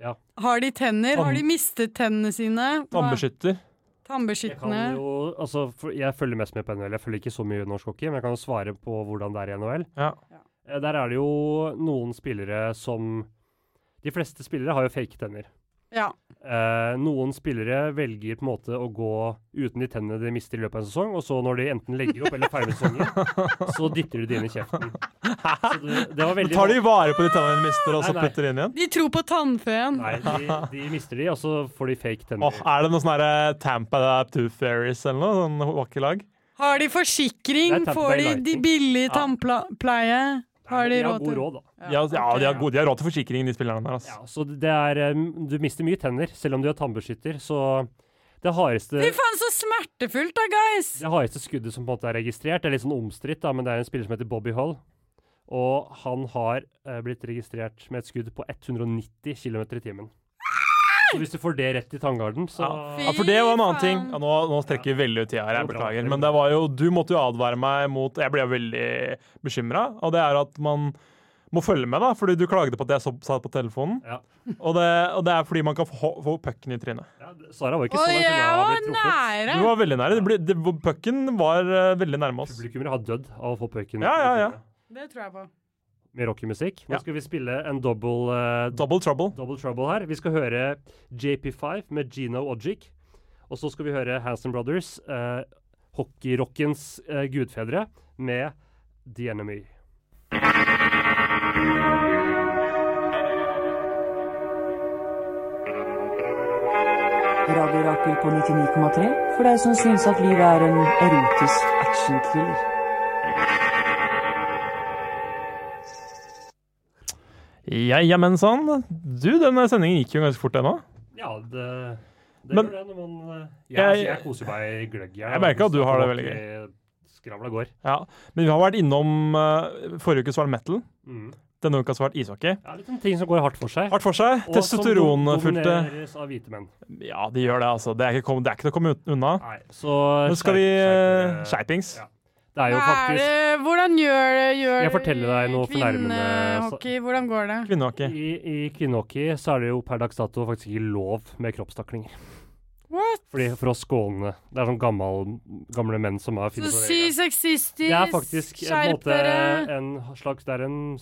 Speaker 4: Ja.
Speaker 5: Har de tenner? Har
Speaker 3: Tann-
Speaker 5: de mistet tennene sine? Hva-
Speaker 3: Tannbeskytter.
Speaker 4: Jeg kan
Speaker 5: Tannbeskyttende.
Speaker 4: jo Altså, for, jeg følger mest med på NHL. Jeg følger ikke så mye norsk hockey, men jeg kan jo svare på hvordan det er i NHL.
Speaker 3: Ja.
Speaker 4: Eh, Der er det jo noen spillere som De fleste spillere har jo fake tenner.
Speaker 5: Ja.
Speaker 4: Eh, noen spillere velger på en måte å gå uten de tennene de mister i løpet av en sesong, og så når de enten legger opp eller feiler sesongen, så dytter de det inn i kjeften. Så det, det var
Speaker 3: Men
Speaker 4: veldig
Speaker 3: tar de vare på de tennene de mister, og så
Speaker 4: Nei, nei.
Speaker 3: putter de inn igjen?
Speaker 5: De tror på tannfeen.
Speaker 4: Nei, de, de mister de, og så får de fake tenner.
Speaker 3: Åh, er det noe sånn her eh, Tampa Two Fairies eller noe? Sånn hockeylag?
Speaker 5: Har de forsikring?
Speaker 4: Det er
Speaker 5: Får de,
Speaker 4: tannpleie.
Speaker 5: de billig tannpleie? Har de råd
Speaker 4: god
Speaker 5: til
Speaker 4: råd, da.
Speaker 3: Ja, ja, de, har gode, de har råd til forsikring, de spillerne der.
Speaker 4: Ja,
Speaker 3: Altså.
Speaker 4: så det er eh, Du mister mye tenner, selv om du er tannbeskytter, så det hardeste
Speaker 5: Fy faen, så smertefullt da, guys!
Speaker 4: Det hardeste skuddet som på en måte er registrert, det er litt sånn omstridt, da, men det er en spiller som heter Bobby Hull. Og han har eh, blitt registrert med et skudd på 190 km i timen. Så hvis du får det rett i tanngarden, så
Speaker 3: Ja. Ja, for det var en annen ting. Ja, nå, nå strekker vi veldig ut tida her, jeg beklager. Men det var jo, du måtte jo advare meg mot Jeg ble veldig bekymra, og det er at man må følge med, da, fordi du klagde på at jeg så- satt på telefonen.
Speaker 4: Ja.
Speaker 3: Og det, og det er fordi man kan få, få pucken i trynet.
Speaker 4: Ja, det- Sara var ikke
Speaker 5: Og
Speaker 4: sånn at hun
Speaker 5: jeg
Speaker 4: har
Speaker 5: var
Speaker 4: blitt truffet.
Speaker 5: nære!
Speaker 3: Du var veldig nære. Det ble, det, pucken var eh, veldig nærme oss.
Speaker 4: Publikummere har dødd av å få pucken.
Speaker 3: Ja, ja, ja.
Speaker 5: Det tror jeg på.
Speaker 4: Med rockemusikk. Nå
Speaker 3: Ja.
Speaker 4: skal vi spille en double, eh,
Speaker 3: Double trouble.
Speaker 4: double trouble her. Vi skal høre JP5 med Gino Ogic. Og så skal vi høre Hanson Brothers, eh, hockeyrockens eh, gudfedre, med The Enemy.
Speaker 11: Radio Rakel på 99,3 for deg som syns at livet er en erotisk actionthriller.
Speaker 3: Ja, ja, men sånn. Du, denne sendingen gikk jo ganske fort ennå.
Speaker 4: Ja, det, det
Speaker 3: Men-
Speaker 4: gjør det når man eh,
Speaker 3: Jeg-
Speaker 4: ja, altså, jeg koser meg i gløgg.
Speaker 3: Jeg merker at du har det veldig
Speaker 4: Skravla går.
Speaker 3: Ja. Men vi har vært innom eh, Forrige uke så var det metal.
Speaker 4: Mm.
Speaker 3: Denne uka så var det ishockey.
Speaker 4: Ja, litt sånne ting som går hardt for seg.
Speaker 3: Hardt for seg.
Speaker 4: og som
Speaker 3: Testosteronfylte
Speaker 4: domineres av hvite menn.
Speaker 3: Ja, de gjør det, altså. Det er ikke, kom, det er ikke til å komme ut- unna.
Speaker 4: Nei, så
Speaker 3: Nå skal vi eh,
Speaker 4: skjerp- skjerp
Speaker 3: Skjerpings.
Speaker 4: eh, Ja. dere. Det er jo
Speaker 5: Hva er
Speaker 4: faktisk
Speaker 5: det, hvordan gjør, gjør
Speaker 4: Jeg forteller deg noe fornærmende, så-
Speaker 5: kvinnehockey? Hvordan går det?
Speaker 3: Kvinnehockey.
Speaker 4: i, I kvinnehockey så er det jo per dags dato faktisk ikke lov med kroppstaklinger.
Speaker 5: What?
Speaker 4: Fordi For å skåne. Det er sånn gammel, gamle menn som har
Speaker 5: Så
Speaker 4: funnet på det.
Speaker 5: si sexistisk,
Speaker 4: Det er faktisk en,
Speaker 5: skjerp
Speaker 4: måte,
Speaker 5: dere!
Speaker 4: en slags, det er en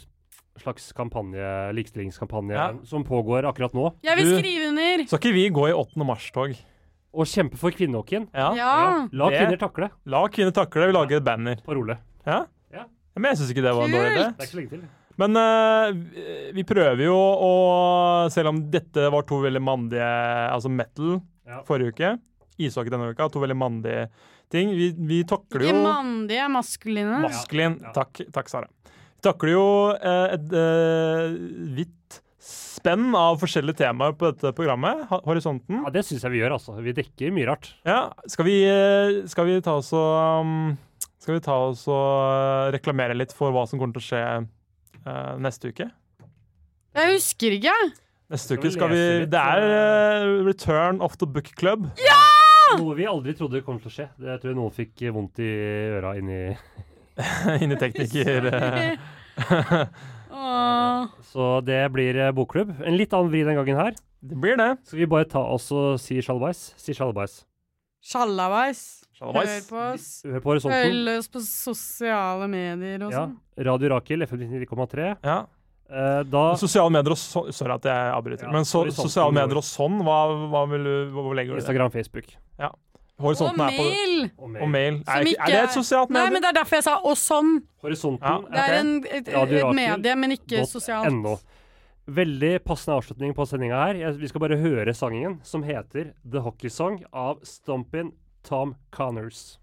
Speaker 4: slags kampanje, likestillingskampanje
Speaker 3: Ja.
Speaker 4: som pågår akkurat nå.
Speaker 5: Jeg vil
Speaker 3: Du-
Speaker 5: skrive under!
Speaker 3: Skal ikke vi gå i 8. mars-tog?
Speaker 4: Å kjempe for kvinnehockeyen.
Speaker 3: Ja.
Speaker 5: Ja!
Speaker 4: La
Speaker 3: Det-
Speaker 4: kvinner takle.
Speaker 3: La kvinner takle, vi lager et banner.
Speaker 4: På Role.
Speaker 3: Ja, Men jeg syns ikke det var en dårlig idé.
Speaker 4: Det
Speaker 5: Kult!
Speaker 4: er ikke så lenge til.
Speaker 3: Men eh, vi- vi prøver jo å Selv om dette var to veldig mandige Altså metal
Speaker 4: Ja.
Speaker 3: forrige uke, ishockey denne uka. To veldig mandige ting. Vi, vi takler
Speaker 5: Ikke
Speaker 3: jo
Speaker 5: mandige, maskuline.
Speaker 3: Maskulin. Takk, takk, Sara. Vi takler jo eh, et eh, vidt spenn av forskjellige temaer på dette programmet. Ha- Horisonten.
Speaker 4: Ja, det syns jeg vi gjør, altså. Vi dekker mye rart.
Speaker 3: Ja, skal vi, eh, skal vi ta oss og um, Skal vi ta oss og eh, reklamere litt for hva som kommer til å skje eh, neste uke?
Speaker 5: Jeg husker ikke.
Speaker 3: Neste
Speaker 4: Skal
Speaker 3: uke
Speaker 4: vi
Speaker 3: skal vi
Speaker 4: lese litt,
Speaker 3: Det er eh, Return of the Book Club.
Speaker 4: Noe vi aldri trodde kom til å skje. Det- Jeg tror noen fikk eh, vondt i øra inni
Speaker 3: Inni tekniker. eh.
Speaker 5: Åh.
Speaker 4: Så det blir eh, bokklubb. En litt annen vri den gangen her.
Speaker 3: Det blir det.
Speaker 4: Skal vi bare ta oss og si sjalabais? Si sjalabais.
Speaker 5: Sjalabais. Hør
Speaker 3: Shalabais.
Speaker 5: på oss.
Speaker 4: Hør på horisonten.
Speaker 5: Følg oss på sosiale medier og
Speaker 4: Sånn Ja.
Speaker 5: sånn.
Speaker 4: Radio Rakel, FM 99,3.
Speaker 3: Ja.
Speaker 4: Eh, da
Speaker 3: Sosiale medier og sånn Sorry at jeg avbryter.
Speaker 4: Ja,
Speaker 3: men så,
Speaker 4: horisonten
Speaker 3: sosiale
Speaker 4: går.
Speaker 3: medier og sånn, hva, hva vil du Hvor hvor legger du det?
Speaker 4: Instagram, Facebook.
Speaker 5: Og
Speaker 3: Horisonten er på
Speaker 5: mail!
Speaker 3: Og mail.
Speaker 5: Som
Speaker 3: Er, ikke-
Speaker 5: ikke
Speaker 3: er det
Speaker 5: er-
Speaker 3: et sosialt
Speaker 5: Nei,
Speaker 3: medie?
Speaker 5: men det er derfor jeg sa 'og sånn'.
Speaker 3: Ja,
Speaker 4: Horisonten
Speaker 5: Det
Speaker 3: Ok.
Speaker 5: er en, et, et,
Speaker 4: Radio
Speaker 5: et
Speaker 4: Rakel
Speaker 5: medie, men ikke sosialt.
Speaker 4: .no. Veldig passende avslutning på sendinga her. Jeg, vi skal bare høre sangen som heter The Hockey Song av Stompin' Tom Connors.